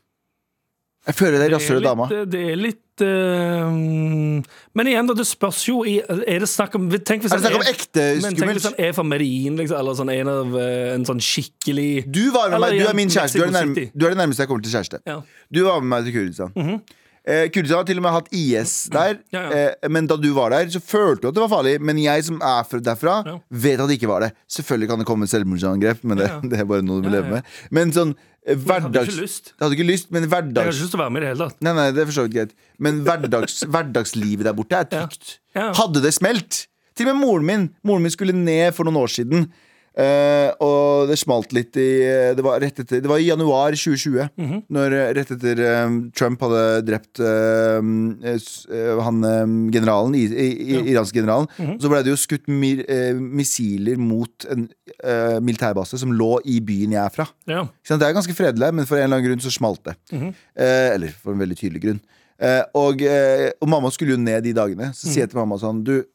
Jeg føler det er rasshøl Det er dama. litt, eh, Det er litt eh, Men igjen, da, det spørs jo i Er det snakk om Tenk hvis Er det snakk om ekte men tenk hvis han skummelt? er fra Medellin, liksom, eller sånn en av eh, en sånn skikkelig Du var med Eller meg, du igjen, er min kjæreste. Du er, det Mexico nærme, City. du er det nærmeste jeg kommer til kjæreste. Ja. Du var med meg til Kurdistan. eh, Kurdistan har til og med hatt IS der. Mhm. Mm. Ja, ja. Eh, men da du var der, så følte du at det var farlig. Men jeg som er fra derfra, Ja. vet at det ikke var det. Selvfølgelig kan det komme et selvmordsangrep, men det, Ja, ja. det er bare noe du må Ja, ja. leve med. Men sånn eh, hadde ikke hverdags... lyst. Jeg hadde ikke lyst, men Jeg har hverdags... ikke lyst til å være med i det hele tatt. Nei, nei, det er for så vidt greit. Men hverdags, hverdagslivet der borte er trygt. Ja. Ja. Hadde det smelt? Til og med moren min. Moren min skulle ned for noen år siden. eh, og det smalt litt i eh, Det var, rett etter, det var i januar 2020. når, eh, rett etter eh, Trump hadde drept eh, eh, s- eh, han eh, generalen, i, i, i, iranske generalen. Så ble det jo skutt mir, eh, missiler mot en eh, militærbase som lå i byen jeg er fra. Ja. Ikke sant? Det er ganske fredelig, men for en eller annen grunn så smalt det. Mhm. eh, eller for en veldig tydelig grunn. Eh, og, eh, og mamma skulle jo ned de dagene. Så Mhm. sier jeg til mamma sånn Du,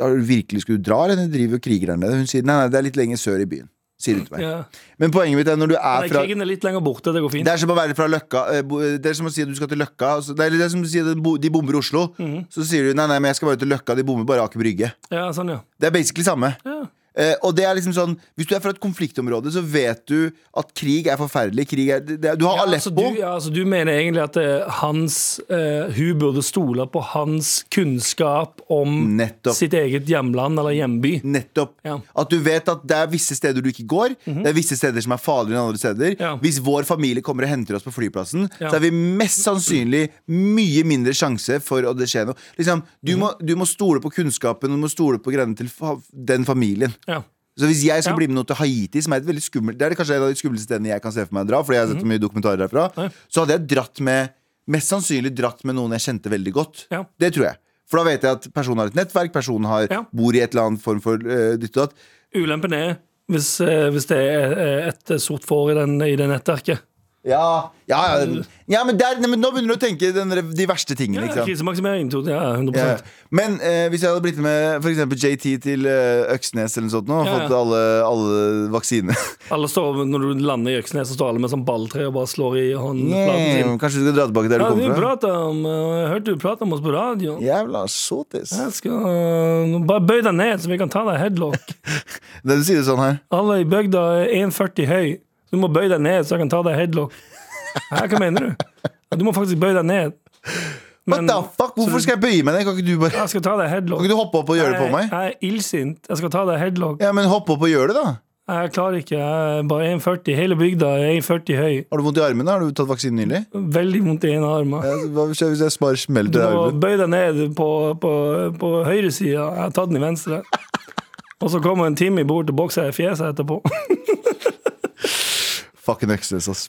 har du virkelig skulle du dra, eller du driver og kriger der nede? Hun sier nei, nei, det er litt lenger sør i byen. Sier hun til meg. Ja. Men poenget mitt er når du er Nei, fra krigen er litt lenger borte, det går det fint. er som å være fra Løkka eh, bo- Det er som å si at du skal til Løkka. og så- Det er, det er som å si at de bo- de bomber Oslo. Mhm. Så sier du nei, nei, men jeg skal bare til Løkka, de bomber bare Aker Brygge. Ja, sånn, ja. Det er basically samme. Ja. Eh, og det er liksom sånn Hvis du er fra et konfliktområde, så vet du at krig er forferdelig. Krig er, det, det- du har Ja, altså, du, Aleppo. ja, altså, du mener egentlig at eh, hans, eh, hun burde stole på hans kunnskap om Nettopp. sitt eget hjemland eller hjemby? Nettopp. Ja. Mhm. At du vet at det er visse steder du ikke går. Det er visse steder som er farligere enn andre steder. Ja. Hvis vår familie kommer og henter oss på flyplassen, Ja. så er vi mest sannsynlig mye mindre sjanse for at det skjer noe. Liksom, du, Mhm. må, du må stole på kunnskapen, og du må stole på greiene til fa den familien. Ja. Så hvis jeg skal Ja. bli med noe til Haiti, som er et veldig skummelt Det er kanskje et av de skumleste stedene jeg kan se for meg å dra, fordi jeg har Mhm. sett så mye dokumentarer derfra, så hadde jeg dratt med Mest sannsynlig dratt med noen jeg kjente veldig godt. Ja. Det tror jeg. For da vet jeg at personen har et nettverk, personen har, Ja. bor i et eller annet form for eh, ditt og datt. Ulempen er hvis, eh, hvis det er eh, et sort får i, den, i det nettverket. Ja, ja, ja, ja men, der, nei, men nå begynner du å tenke den, de verste tingene. Ja, ikke sant? krisemaksimering. to- Ja, 100 Ja. Men eh, hvis jeg hadde blitt med for eksempel JT til eh, Øksnes eller noe sånt nå, og Ja, ja. fått alle, alle vaksiner Alle står, Når du lander i Øksnes, så står alle med sånn balltre og bare slår i håndflaten yeah. sin. Kanskje du skal dra tilbake der Ja, du vi kommer fra? prater om, eh, jeg hørte du prate om oss på radio. Jævla sotis. Jeg skal eh, bare bøy deg ned, så vi kan ta deg headlock. Det du sier det sånn her. Alle i bygda er 1,40 høy. Du må bøye deg ned, så jeg kan ta deg headlock. Hæ, hva mener du? Du må faktisk bøye deg ned. What Men the fuck? Hvorfor skal jeg bøye meg ned? Kan ikke du bare jeg skal ta deg headlock. Kan ikke du hoppe opp og gjøre det på meg? Jeg, jeg er illsint. Jeg skal ta deg headlock. Ja, men hopp opp og gjør det, da. Jeg klarer ikke. Jeg er bare 1,40. Hele bygda er 1,40 høy. Har du vondt i armen? Har du tatt vaksinen nylig? Veldig vondt i ene armen. Ja, Hva skjer hvis jeg bare smeller Du til må armen? bøye deg ned på, på, på høyresida. Jeg har tatt den i venstre. Og så kommer en Timmy bort og bokser jeg i fjeset etterpå. Fucking Øksnes, ass.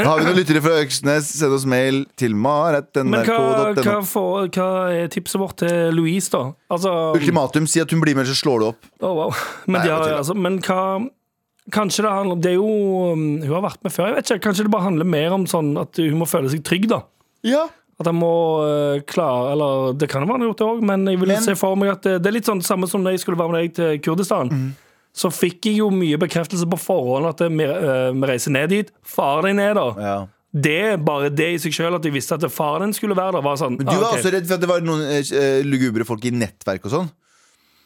Har vi noen lyttere fra Øksnes, send oss mail til Men hva, hva, mar.nrk.no. får, hva er tipset vårt til Louise, da? Altså, Ultimatum, si at hun blir med, så slår du opp. å, wow. Men, Nei, de har, jeg tuller. altså, men hva Kanskje det handler om Det er jo um, Hun har vært med før. Jeg vet ikke, Kanskje det bare handler mer om sånn at hun må føle seg trygg, da. Ja. At jeg må eh, klare Eller det kan være han har gjort det òg, men jeg vil Men- se for meg at det, det er litt sånn samme som når jeg skulle være med deg til Kurdistan. Mm. Så fikk jeg jo mye bekreftelse på forhånd at vi eh, vi reiser ned dit. Far deg ned, da. ja. Det, bare det i seg sjøl, at jeg visste at faren din skulle være der, var sånn. Men du ah, var ok. også redd for at det var noen eh, lugubre folk i nettverk og sånn.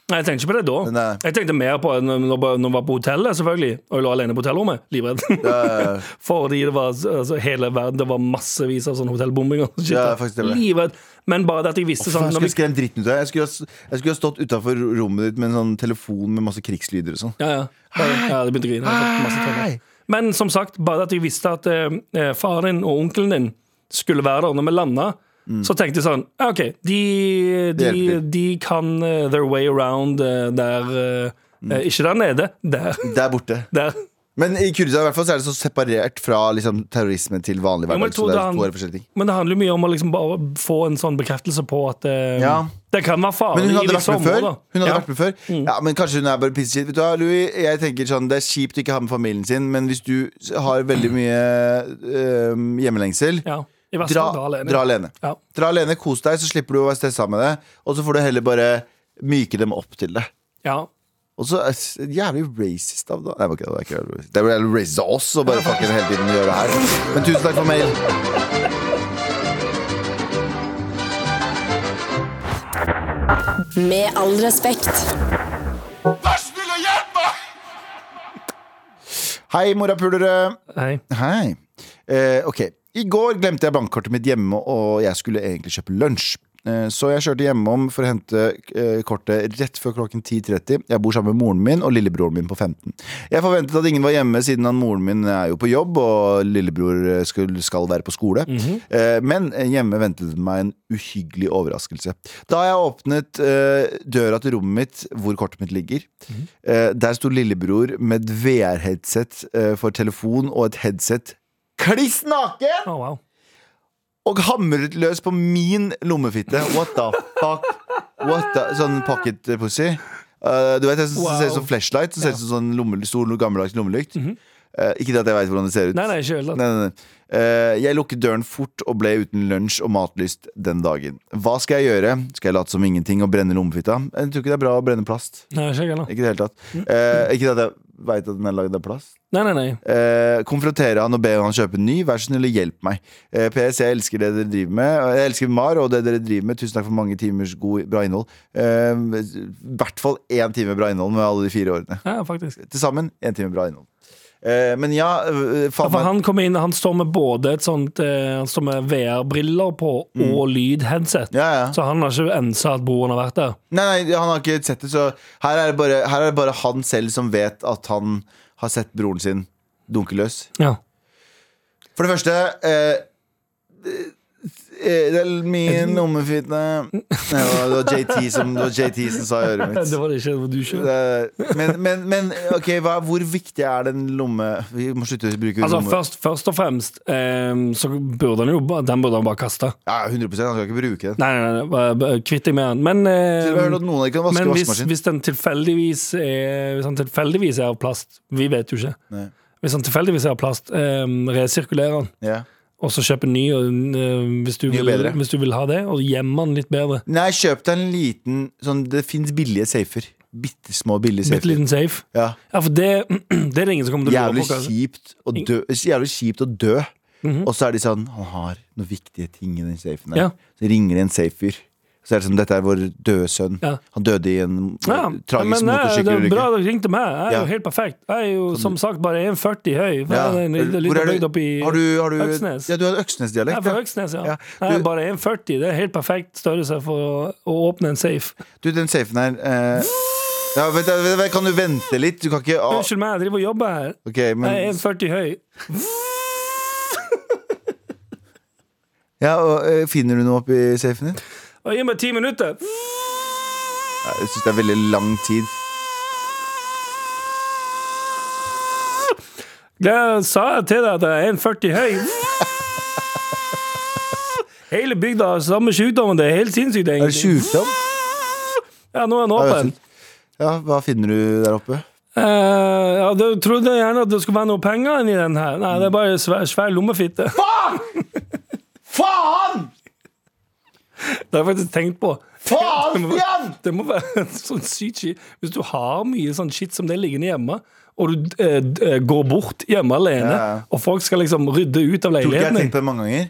Nei, jeg tenkte ikke på det da. Nei. Jeg tenkte mer på når når jeg var på hotellet, selvfølgelig. Og jeg lå alene på hotellrommet. Livredd. Eh, Fordi det var altså, hele verden, det var massevis av sånne hotellbombinger. og shit. Ja, faktisk det var det. Livredd. Men bare det at jeg visste faen, sånn jeg når skulle vi, skremt dritten ut av deg. Jeg skulle ha- Jeg skulle ha stått utafor rommet ditt med en sånn telefon med masse krigslyder og sånn. ja, ja. ja, det begynte å grine. Jeg fikk masse tårer. Men som sagt, bare det at jeg visste at eh, faren din og onkelen din skulle være der når vi landa, så tenkte jeg sånn ja, OK, de, de, Mm. Det hjelper. de kan eh, their way around eh, der eh, Mm. eh, Ikke der nede. Der. Der borte. der. Men i Kurdistan i hvert fall så er det så separert fra liksom, terrorisme til vanlig Jo, men hverdag. jeg tror så det det er han- to helt forskjellige ting. Men det handler jo mye om å liksom bare få en sånn bekreftelse på at eh, Ja. det kan være farlig. Men hun i hadde vært visse med før. områder. Hun hadde ja. Mm. vært med før Ja, Men kanskje hun er bare pissed. Vet du hva, Louis, jeg tenker sånn, Det er kjipt å ikke ha med familien sin, men hvis du har veldig mye øhm, hjemmelengsel, Ja. I verste dra, fall, da alene. dra alene. Ja. Dra alene, Kos deg, så slipper du å være stressa med det. Og så får du heller bare myke dem opp til det. Ja. Og så er det jævlig racist av da Nei, ok, det er ikke jævlig racist. Det er jævlig racist av oss å bare fucking hele tiden gjøre det her. Men tusen takk for mail. Med all respekt. Hei, morapulere. Hei. Hei. Eh, ok. I går glemte jeg bankkortet mitt hjemme, og jeg skulle egentlig kjøpe lunsj. Eh, Så jeg kjørte hjemom for å hente eh, kortet rett før klokken 10.30. Jeg bor sammen med moren min og lillebroren min på 15. Jeg forventet at ingen var hjemme, siden han moren min er jo på jobb, og lillebror eh, skal, skal være på skole. Eh, Men hjemme ventet meg en uhyggelig overraskelse. Da jeg åpnet eh, døra til rommet mitt, hvor kortet mitt ligger, Eh, der sto lillebror med et VR-headset eh, for telefon og et headset kliss naken! Å, wow. Og hamret løs på min lommefitte. What the fuck? What the, sånn pocket pussy. Eh, du vet, jeg Wow. Mhm. ser ut som flashlight. Så ser ut som sånn lommel, stor, gammeldags lommelykt. Eh, ikke det at jeg veit hvordan det ser ut. Nei, nei, ikke i det hele tatt. Nei, nei, nei. Eh, jeg lukket døren fort og ble uten lunsj og matlyst den dagen. Hva skal jeg gjøre? Skal jeg late som ingenting og brenne lommefitta? Jeg tror ikke det er bra å brenne plast. Nei, ikke jeg heller. Ikke i det hele tatt. Eh, ikke at jeg veit at den er lagd av plast. Nei, nei, nei. Eh, konfrontere han og be han kjøpe en ny. Vær så snill og hjelp meg. Eh, PS, jeg elsker det dere driver med. og Jeg elsker MAR og det dere driver med. Tusen takk for mange timers god, bra innhold. Eh, I hvert fall én time bra innhold med alle de fire årene. Ja, faktisk. Til sammen én time bra innhold. Eh, men ja, eh, faen For meg. han kommer inn, han står med både et sånt eh, Han står med VR-briller på og lydheadset. Mm. Ja, ja. Så han har ikke ensa at broren har vært der. Nei, nei, han har ikke sett det, så her er det, bare, her er det bare han selv som vet at han har sett broren sin dunke løs. Ja. For det første eh, eh, Det er min lommefitte Nei, Det var det var JT som, det var JT som sa i øret mitt. Det var det ikke det var du sjøl. Det- Men, men, men ok, hva, hvor viktig er den lomme... Vi må slutte å bruke Altså, lomme... først, først og fremst eh, så burde han jo ba- Den burde han bare kaste. Ja, 100 han skal ikke bruke den. Nei, nei, nei, bare- bare kvitt deg med han. Men eh, Til og med hørt at noen av dem kan vaske Men hvis, vaskemaskinen. hvis den tilfeldigvis er, hvis den tilfeldigvis er av plast Vi vet jo ikke. Nei. Hvis den tilfeldigvis er av plast, eh, resirkulerer den. Ja. Og så kjøp en ny og, eh, hvis, du Ny og vil, bedre. hvis du vil ha det, og gjemme den litt bedre. Nei, kjøp deg en liten sånn, Det fins billige safer. Bitte små billige Bitte safer. liten safe. Ja. Ja, for det, det er det ingen som kommer til å lure Jævlig på. altså. kanskje. kjipt å dø. Jævlig kjipt å dø. Og så er de sånn Han har noen viktige ting i den safen. her." Ja. Så ringer det en safer. Så er det sånn, dette er vår døde sønn. Ja. Han dødde i en Ja, eh, tragisk men, eh, Det er bra motorsykkelulykke. dere ringte meg. Jeg er Ja. jo helt perfekt. Jeg er jo som sagt bare 1,40 høy. Ja. Jeg er en liten Hvor er du? bygd opp i- Har du, har du, Øksnes. Ja, du har Jeg er Øksnes-dialekt. fra ja. Øksnes, ja. Ja. Jeg er Du- bare 1,40. Det er helt perfekt størrelse for å, å åpne en safe. Du, den safen her eh, ja, vent, vent, vent, Kan du vente litt? Du kan ikke ah, Unnskyld meg, jeg driver og jobber her. Ok, Jeg er men 1,40 høy. ja, og, eh, Finner du noe oppi safen din? Og gi meg ti minutter. Ja, Jeg syns det er veldig lang tid. Jeg sa jeg til deg at jeg er 1,40 høy. Hele bygda har samme sykdommen. Det er helt sinnssykt, Er det egentlig. sjukdom? Ja, nå er den Ja, åpen. det Ja, hva finner du der oppe? Eh, ja, du trodde gjerne at det skulle være noe penger inni den her. Nei, det er bare svær, svær lommefitte. Faen! Faen! Det har jeg faktisk tenkt på. Faen, Stian! Det må være sånn sykt shit. Hvis du har mye sånn shit som det liggende hjemme, og du eh, d- eh, går bort hjemme alene, Ja. og folk skal liksom rydde ut av Tror ikke jeg har leiligheten tenkt på din det mange ganger.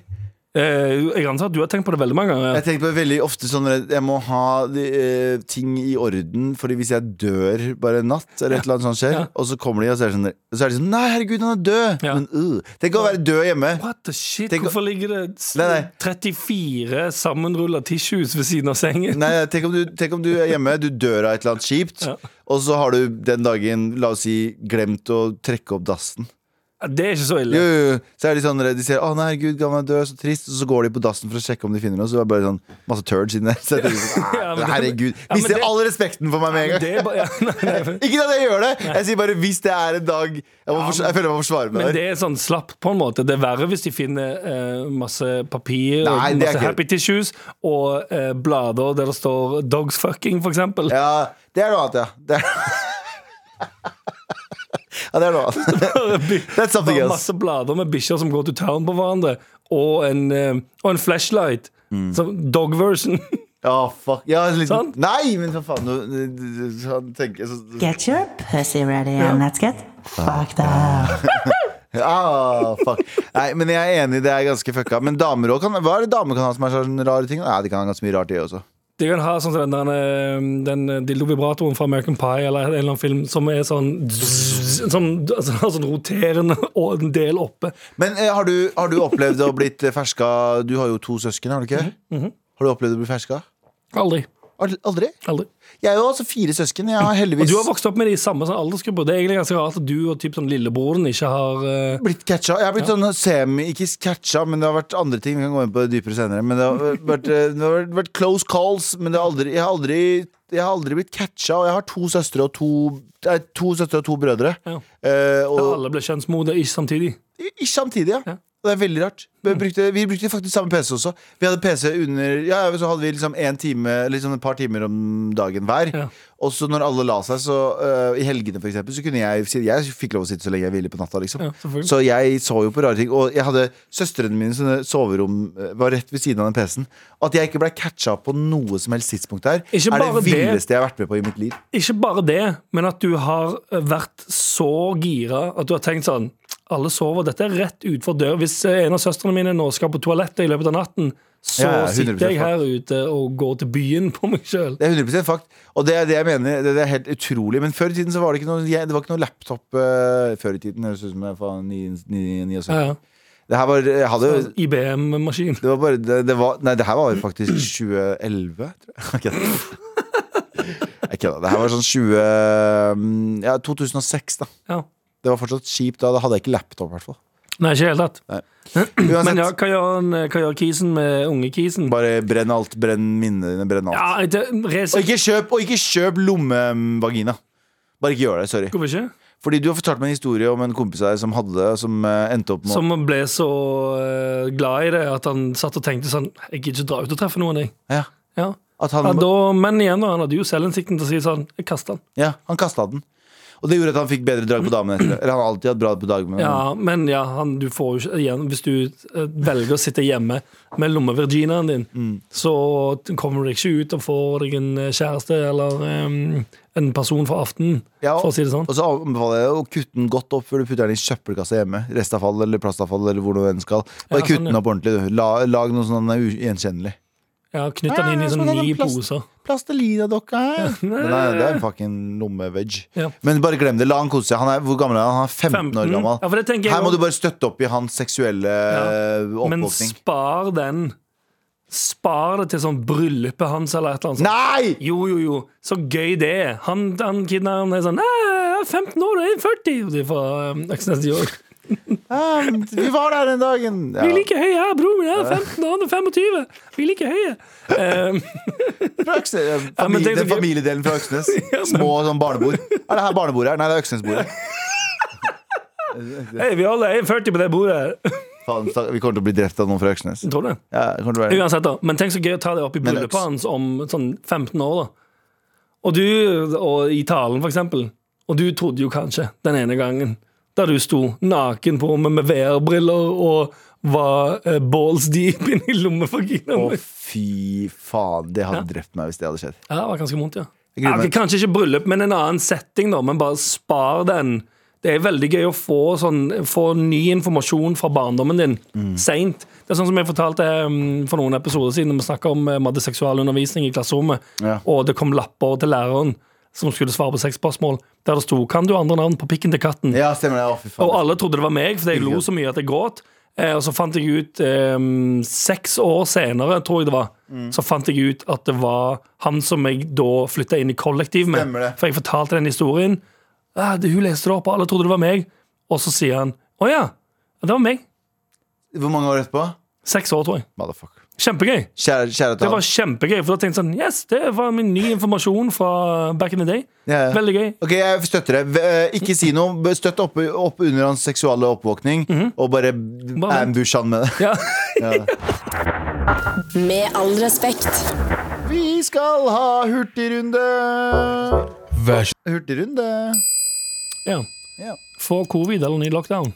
Eh, Jeg antar at du har tenkt på det veldig mange ganger. Jeg tenker på det veldig ofte sånn at jeg må ha eh, ting i orden, Fordi hvis jeg dør bare en natt, eller et eller annet sånt skjer, Ja. og så kommer de og så er det sånn, så er de sånn Nei, herregud, han er død! Ja. Men øh, Tenk å være død hjemme. What the shit? Tenk å- Hvorfor ligger det s- Nei, nei. 34 sammenrulla tissues ved siden av sengen? Nei, tenk om, du, tenk om du er hjemme, du dør av et eller annet kjipt, Ja. og så har du den dagen, la oss si, glemt å trekke opp dassen. Det er ikke så ille. Jo, jo, jo. Så er de sånn, de sier 'Å nei, herregud, gamle er død, så trist', og så går de på dassen for å sjekke om de finner noe, så er det bare sånn masse turds inni der. Så jeg tenker sånn, «Æ, Ja, men det- herregud. Ja, men Mister det- all respekten for meg med en gang. Det er bare, ja, nei, nei, men- Ikke at jeg gjør det! Jeg sier bare hvis det er en dag Jeg, må forsvare- jeg føler jeg må forsvare meg men der. det er sånn slapt, på en måte. Det er verre hvis de finner eh, masse papir Nei, og det er masse ikke- happy tissues og eh, blader der det står 'dogs fucking', for eksempel. Ja, det er noe annet, ja. Det er, ja, det er noe annet. That's something Bare else. Masse blader med bikkjer som går til town på hverandre, og en, eh, og en flashlight. Mm. Som dog version. Ja, fuck. Ja, en liten- Sant? Nei, men for faen. nå- Han tenker sånn- så Get your pussy ready and let's get fucked up. ah, fuck. Nei, men jeg er enig, det er ganske fucka. Men damer også kan Hva er det damer kan ha som er sånne rare ting? Nei, de kan ha ganske mye rart, de også. De kan ha sånn som den, den, den eh, dildo-vibratoren fra American Pie eller en eller annen film som er sånn Som altså, har sånn roterende og en del oppe. Men eh, har, du, har du opplevd å blitt eh, ferska Du har jo to søsken, har du ikke? Mhm, Har du opplevd å bli ferska? Aldri. Ald- Aldri? Aldri. Jeg har jo altså fire søsken. Jeg har heldigvis Du har vokst opp med de samme sånn aldersgrupper. Det er egentlig ganske rart at du og typ sånn lillebroren ikke har eh, blitt catcha. Jeg har blitt sånn semi, ikke catcha, men det har vært andre ting. Vi kan gå inn på det dypere senere. Men det har vært, eh, det har vært close calls, men det har aldri, jeg, har aldri, jeg har aldri blitt catcha. Og jeg har to søstre og to, nei, to, søstre og to brødre. Ja. Eh, og Alle ble kjønnsmodne ikke samtidig. ikke samtidig, ja. Ja. Det er veldig rart. Vi brukte, vi brukte faktisk samme PC også. Vi hadde PC under Ja, ja, så hadde vi liksom en time Eller sånn et par timer om dagen hver. Ja. Og så når alle la seg, så eh, i helgene for eksempel, så kunne jeg si- Jeg fikk lov å sitte så lenge jeg ville på natta, liksom. Ja, selvfølgelig. så jeg så jo på rare ting. Og jeg hadde søstrene mine sine soverom eh, var rett ved siden av den PC-en. At jeg ikke ble catcha på noe som helst tidspunkt der, Ikke er bare det det. villeste jeg har vært med på i mitt liv. Ikke bare det, men at du har eh, vært så gira at du har tenkt sånn Alle sover, dette er rett utfor dør. Hvis eh, en av søstrene mine nå skal på toalettet i løpet av natten, så Ja, ja, 100% sitter jeg her ute og går til byen på meg sjøl. Det er 100 fakt. Og det er det jeg mener. Det det er helt utrolig. Men før i tiden så var det ikke noe, jeg- det var ikke noe laptop. eh, før i tiden høres ut som jeg er fra ni- ni- 79. Ja, Det her var jeg hadde, jo- IBM-maskin. det var bare det, det var, Nei, det her var jo faktisk 2011, tror jeg. Jeg kødder. Det her var sånn 20 Ja, 2006, da. Ja. Det var fortsatt kjipt da. Da hadde jeg ikke laptop, i hvert fall. Nei, ikke i det hele tatt. Uansett, Men ja, hva gjør, han, eh, hva gjør kisen med unge kisen? bare brenn alt. Brenn minnene dine. Brenn alt. Ja, det, Og racer ikke kjøp, og ikke kjøp lommevagina. Bare ikke gjør det. Sorry. Hvorfor ikke? Fordi du har fortalt meg en historie om en kompis av deg som hadde det, som eh, endte opp med Som ble så eh, glad i det at han satt og tenkte sånn Jeg gidder ikke dra ut og treffe noen, jeg. ja, Ja. at Ja, han, ja, da, men igjen, da. Han hadde jo selvinnsikten til å si sånn Jeg kaster den. han kasta den. Og det gjorde at han fikk bedre drag på damen etter det. Eller han har alltid hatt bra på dagen, men Ja, men ja, han, du får jo ikke igjen Hvis du eh, velger å sitte hjemme med lommevirginaen din, så kommer du deg ikke ut og får deg en eh, kjæreste eller eh, en person for aftenen, Ja, for å si det sånn. Og så anbefaler jeg å kutte den godt opp før du putter den i søppelkassa hjemme. Restavfall eller plastavfall eller hvor du enn skal. Bare Ja, kutt sånn, den ja. opp ordentlig. du. La, lag noe sånn at den er ugjenkjennelig. Jeg har knyttet den inn i Ja, sånn sånn ni en plast- poser. Plastelina-dokka her. Den er, det er en fucking lommeveg. Ja. Men bare glem det. La han kose seg. Han er, hvor gammel er han? Han er 15, 15. år gammel. Ja, for det tenker jeg Her må også. du bare støtte opp i hans seksuelle ja. Men oppvåkning. spar den. Spar det til sånn bryllupet hans eller et eller annet. sånt. Nei! Jo, jo, jo. Så gøy det er. Han, han kidnapperen er sånn «Nei, jeg er 15 år og jeg er 40! Og de er fra um, Øksnes i år. Ja, vi var der den dagen. Ja. Vi er like høye her, bror min. Jeg er 15, og han er 25. Vi er like høye. Um, Fra Øksnes, eh, Ja, men famili- tenk så den gøy. familiedelen fra Øksnes. Små sånn barnebord. Er det her barnebordet? her? Nei, det er Øksnesbordet. hei, vi alle er 40 på det bordet her. Faen, stakk- Vi kommer til å bli drept av noen fra Øksnes. Tror du det? Ja, det kommer til å være. Uansett, da. Men tenk så gøy å ta det opp i Men bryllupet øks. hans om sånn 15 år, da. Og du, og i talen, for eksempel. Og du trodde jo kanskje, den ene gangen, der du sto naken på rommet med VR-briller og var eh, balls deep inni lommefaginaen Å, min. fy faen. Det hadde drept meg hvis det hadde skjedd. Ja, det var ganske vondt, ja. Jeg gruer ja meg. ok, kanskje ikke bryllup, men en annen setting, da. Men bare spar den. Det er veldig gøy å få, sånn, få ny informasjon fra barndommen din Mm. seint. Det er sånn som jeg fortalte um, for noen episoder siden, når vi snakket om eh, vi hadde seksual undervisning i klasserommet, Ja. og det kom lapper til læreren som skulle svare på seks spørsmål, der det sto 'Kan du andre navn på pikken til katten?' Ja, stemmer det. Å, fy Og faen. alle trodde det var meg, fordi jeg lo så mye at jeg gråt. Eh, og så fant jeg ut eh, seks år senere, tror jeg det var, Mm. så fant jeg ut at det var han som jeg da flytta inn i kollektiv med. Stemmer det. For jeg fortalte den historien. Ah, det, hun leste det opp, og alle trodde det var meg. Og så sier han å ja, det var meg. Hvor mange år etterpå? Seks år, tror jeg. Motherfucker. Kjempegøy. Kjære, kjære Det til var han. kjempegøy, for da tenkte jeg sånn Yes, det var min nye informasjon fra back in the day. Ja, ja. Veldig gøy. Ok, jeg støtter det. V- eh, Ikke si noe. Støtt opp, opp under hans seksuale oppvåkning, Mhm. og bare Bare- ambush han med det. Ja. Med all respekt. Vi skal ha hurtigrunde! Vær så Hurtigrunde. ja. Ja. Få covid eller ny lockdown.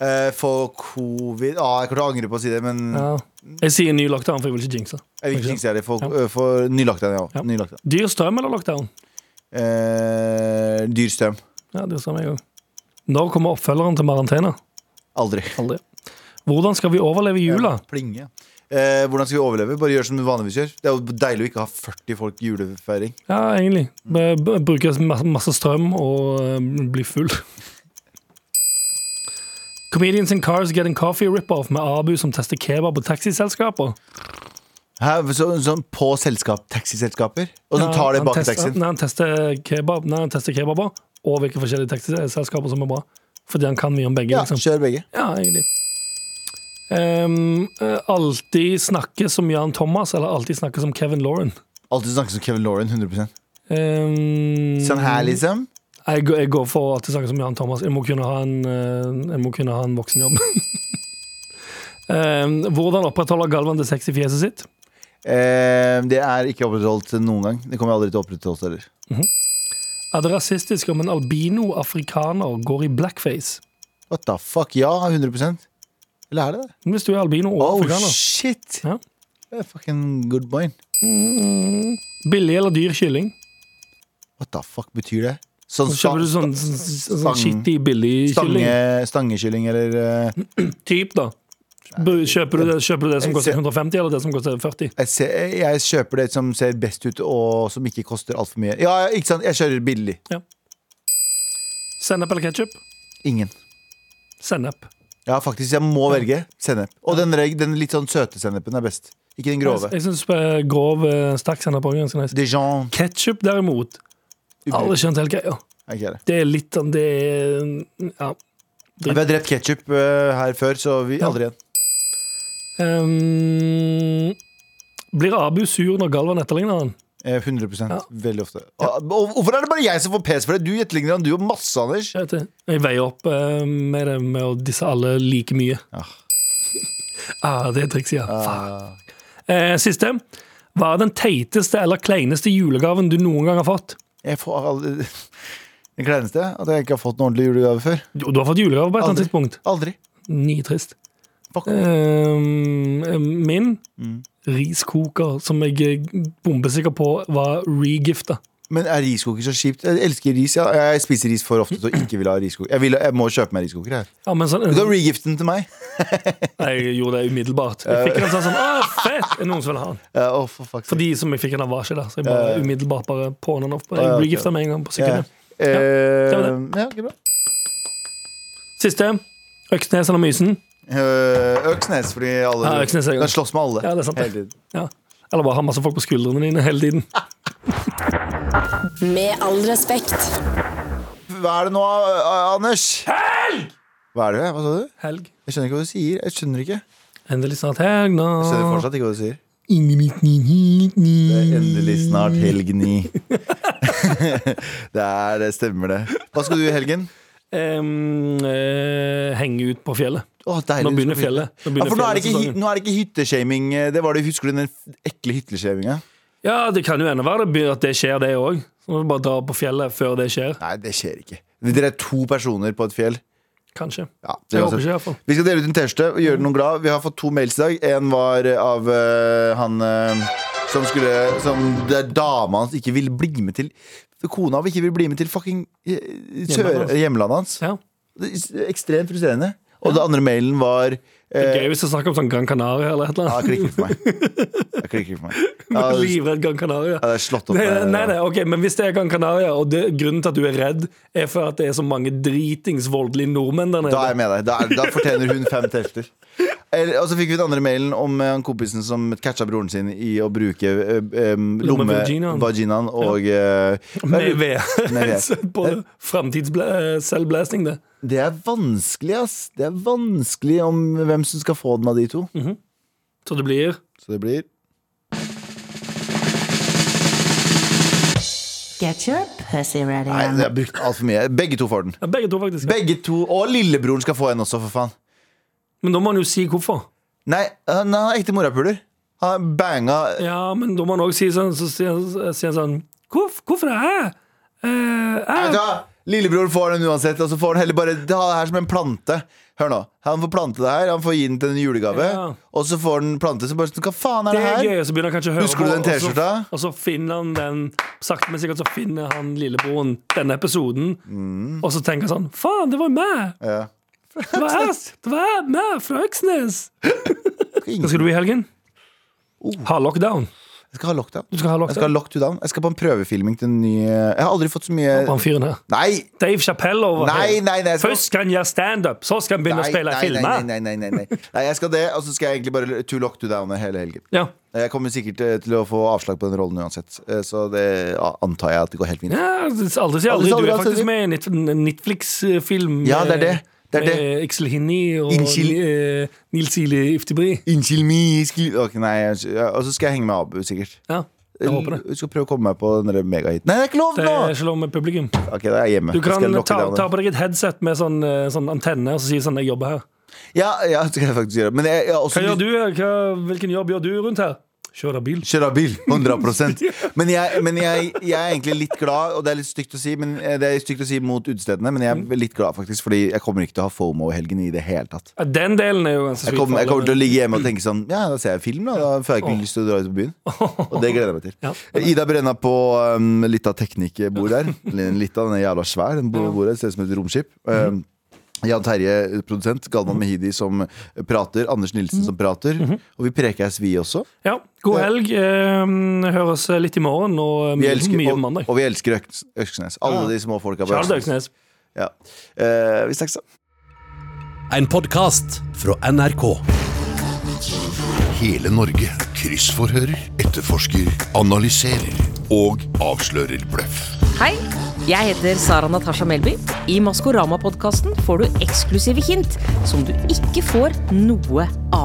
Eh, få covid ah, Jeg kommer til å angre på å si det, men Ja. Jeg sier ny lockdown, for jeg vil ikke jinxe. jeg vil ikke si det. Få, eh, få nylagt den, ja. Ja. Nylagt den. Dyr strøm eller lockdown? Eh, dyr strøm. Ja, dyr strøm jeg òg. Når kommer oppfølgeren til Marantena? Aldri. Aldri. Hvordan skal vi overleve jula? Plinge. Eh, hvordan skal vi overleve? Bare gjør som du vanligvis gjør. Det er jo deilig å ikke ha 40 folk i julefeiring. Ja, egentlig. B- b- Bruke masse, masse strøm og eh, bli full. Comedians in cars getting coffee rip-off med Abu som tester kebab på taxiselskaper. Hæ? Så, sånn på selskap, taxiselskaper? Og så tar det Han bak i tester- taxien? Nei, han tester eh, kebab Nei, han tester kebaber og hvilke forskjellige taxiselskaper som er bra. Fordi han kan mye om begge. Ja, liksom. kjør begge. Ja, egentlig. Ehm, eh, alltid snakke som Jan Thomas, eller alltid snakke som Kevin Lauren. Alltid snakke som Kevin Lauren. 100 Ehm, Sånn her, liksom. jeg, går- jeg går for alltid snakke som Jan Thomas. Jeg må kunne ha en, eh, jeg må kunne ha en voksen jobb. Ehm, hvordan opprettholder Galvan det sexy fjeset sitt? Eh, det er ikke opprettholdt noen gang. Det kommer aldri til å opprettholdes heller. Er det rasistisk om en albino afrikaner går i blackface? What the fuck? Ja, 100 Eller er det det? Hvis du er albino og Oh, afrikaner. shit! Ja. Det er fucking good point. Billig eller dyr kylling? What the fuck betyr det? Sånn Så Kjøper du sta- sånn, sånn, sånn stang- skittig billig kylling? stange, stangekylling eller eh, typ, da. Bu- Kjøper du det, kjøper du det som Jeg koster ser- 150, eller det som koster 40? jeg, ser, jeg kjøper det som ser best ut, og som ikke koster altfor mye. Ja, ikke sant? Jeg kjører billig. Sennep eller ketsjup? Ingen. Sennep. Ja, faktisk. Jeg må velge sennep. Og den, reg- den litt sånn søte sennepen er best. Ikke den grove. Jeg, jeg syns grov eh, sterk sennep også er ganske nice. Dijon. Ketsjup, derimot, aldri skjønt helt greia. Er ikke det. Det er litt sånn Det er mm, Ja. Vi har drept ketsjup her før, så vi Ja. aldri igjen. Ehm, blir Abu sur når Galvan etterligner han? Eh, 100 Ja. Veldig ofte. Og, og hvorfor er det bare jeg som får pes for det? Du etterligner han, du og masse, Anders. Jeg vet det. Jeg veier opp eh, med det med å disse alle like mye. Ja. Ah, det er trikset, ja. Faen. Eh, siste. Hva er den teiteste eller kleineste julegaven du noen gang har fått? Jeg får aldri Den kleineste at jeg ikke har fått noen ordentlig julegave før. Jo, Du har fått julegave på et eller annet Aldri. tidspunkt. Aldri. Nitrist. Fuck. Mm. Ehm, min riskoker, som jeg er bombesikker på var regifta. Men er riskoker så kjipt? Jeg elsker ris. Jeg, jeg spiser ris for ofte til å ikke ville ha riskoker. Jeg, vil, jeg må kjøpe meg riskoker her. Ja, men sånn, Du kan regifte den til meg. jeg gjorde det umiddelbart. Jeg fikk en sånn sånn Å, Fett! Er det noen som vil ha den? Ja, oh, for fuck's For sake. de som jeg fikk den av, var ikke der. Så jeg bare umiddelbart bare på den off. Jeg regifta med en gang Ja. på sekundet. Eh, det var ja, ok, bra. Siste. Øksnes eller Mysen? Eh, Øksnes, fordi alle Ja, Øksnes er jo- Den slåss med alle. Ja, det er sant. Hele tiden. Ja. Eller bare ha masse folk på skuldrene dine hele tiden. Med all respekt. Hva er det nå, eh, Anders? Helg! Hva er det? Hva sa du? Helg. Jeg skjønner ikke hva du sier. Jeg skjønner ikke Endelig snart helg nå. Jeg skjønner fortsatt ikke hva du sier. Det er Endelig endelig snart helg ni. det er det, stemmer det. Hva skal du i helgen? eh, Henge ut på fjellet. Åh, deilig. Nå begynner fjellet. Nå Ja, begynner for nå er det ikke, hy- fjellsesongen. nå er det ikke hytteshaming. eh, Det var det, husker du den ekle hytteshaminga? Ja, det kan jo enda være det begynner at det skjer, det òg. Så må vi bare dra på fjellet før det skjer. Nei, det skjer ikke. Dere er to personer på et fjell. Kanskje. Ja, det Jeg er håper uansett. ikke, i hvert fall. Vi skal dele ut en T-skjorte og gjøre noen glad. Vi har fått to mails i dag. En var eh, av eh, han eh, som skulle Som det er dama hans ikke vil bli med til. Kona hans ikke vil bli med til fucking eh, sør- Hjemlandet hans. hjemlandet hans. Ja. Det er Ekstremt frustrerende. Og den andre mailen var Det er eh, gøy hvis jeg snakker om sånn Gran Canaria eller et eller Ja, annet. det klikker for meg. Det klikker for meg. Ja, Jeg er det- Livredd Gran ja, Canaria. det er slått opp. Nei, med- nei, nei, ok, men hvis det er Gran Canaria, og det, grunnen til at du er redd, er for at det er så mange dritings voldelige nordmenn der nede. Da er jeg med deg. Da, er, da fortjener hun fem tester. Eller- Og så fikk vi den andre mailen om eh, han kompisen som catcha broren sin i å bruke eh, eh, Lommevaginaen. lommevaginaen og eh, Med ved. Med ved. Eh. Så på framtidsselvblæsning, det. Det er vanskelig, ass. Det er vanskelig om hvem som skal få den av de to. Mhm. Så det blir Så det blir Get your pussy ready. Nei, and jeg har brukt altfor mye. Begge to får den. ja, Begge to, faktisk. Begge to, Og lillebroren skal få en også, for faen. Men da må han jo si hvorfor. Nei, han han er ekte morapuler. Han banga Ja, men da må han òg si sånn, så sier han sier han sånn Hvorf, Hvorfor det? Jeg? Nei, Eh, vet du jeg hva? Lillebror får den uansett, og så får han heller bare ha det her som en plante. Hør nå, Han får plante det her, han får gi den til en julegave, Ja. og så får han plante som bare sånn, Hva faen er det det er her? gøy, og så begynner han kanskje å høre Husker du på, den og så- T-skjorta? Og så finner han den Sakte, men sikkert så finner han lillebroren denne episoden, Mm. og så tenker han sånn Faen, det var meg! Ja. Det var jeg! Det var jeg, meg fra Øksnes! Hva Jeg skal du i helgen? Ha lockdown. skal ha lockdown. Du skal ha Oh. Jeg skal ha lockdown. lockdown. Jeg skal på en prøvefilming til en ny Jeg har aldri fått så mye Han fyren her. Nei! Dave Chappelle over Nei, her. nei, nei. jeg skal- Først skal han gjøre standup, så skal han begynne Nei, å spille nei, Nei, filmer. nei, nei, nei, nei. nei, jeg skal det, og så skal jeg egentlig bare to lock to down hele helgen. Ja. Jeg kommer sikkert eh, til å få avslag på den rollen uansett, eh, så det ja, antar jeg at det går helt fint. ja, aldri si aldri. Aldri si aldri, Du er aldri si. faktisk med i en Net- Netflix-film. eh, Ja, det er det. Det er Med Iksel Hinni og Innskyld. eh, Nils Ili Iftebri. Unnskyld meg, skli- Ok, nei, jeg- ja, og så skal jeg henge med Abu, sikkert. Ja, jeg håper det. Jeg skal prøve å komme meg på den der megahiten. Nei, det er ikke lov Det nå! er ikke lov med publikum. Ok, da er jeg hjemme. Du Jeg kan skal lokke ta, down ta den. på deg et headset med sånn, eh, sånn antenne og så si sånn 'jeg jobber her'. Ja, ja, det skal jeg faktisk gjøre. Men jeg, jeg har også Hva gjør lyst- du? Hva, hvilken jobb gjør du rundt her? Kjører bil. Kjører bil, 100 Men, jeg, men jeg, jeg er egentlig litt glad, og det er litt stygt å si Men eh, det er stygt å si mot utestedene, men jeg Mm. er litt glad, faktisk. Fordi jeg kommer ikke til å ha fomo i helgen i det hele tatt. Ja, Den delen er jo ganske Jeg sweet. kommer, jeg for alle, kommer til å ligge hjemme og tenke sånn Ja, da ser jeg film, da. Da får jeg ikke lyst til å dra ut på byen. Og det gleder jeg meg til. Ja. Ida Brenna på um, litt av teknikkbord der. Litt av den er jævla svær. Den bor- bordet ser ut som et romskip. Mhm. Um, Jan Terje, produsent. Galvan Mehidi som prater. Anders Mhm. Nilsen som prater. Og vi prekes, vi også. men- Ja, god helg. Eh, høres litt i morgen og Vi mye, elsker, mye og, mandag. og vi elsker Øks- Øksnes. Alle de små folka på Charles Øksnes. Øksnes. Ja. Eh, vi snakkes, da. En podkast fra NRK. Hele Norge kryssforhører, etterforsker, analyserer og avslører bløff. Hei, jeg heter Sara Natasha Melby. I Maskorama-podkasten får du eksklusive hint som du ikke får noe annet.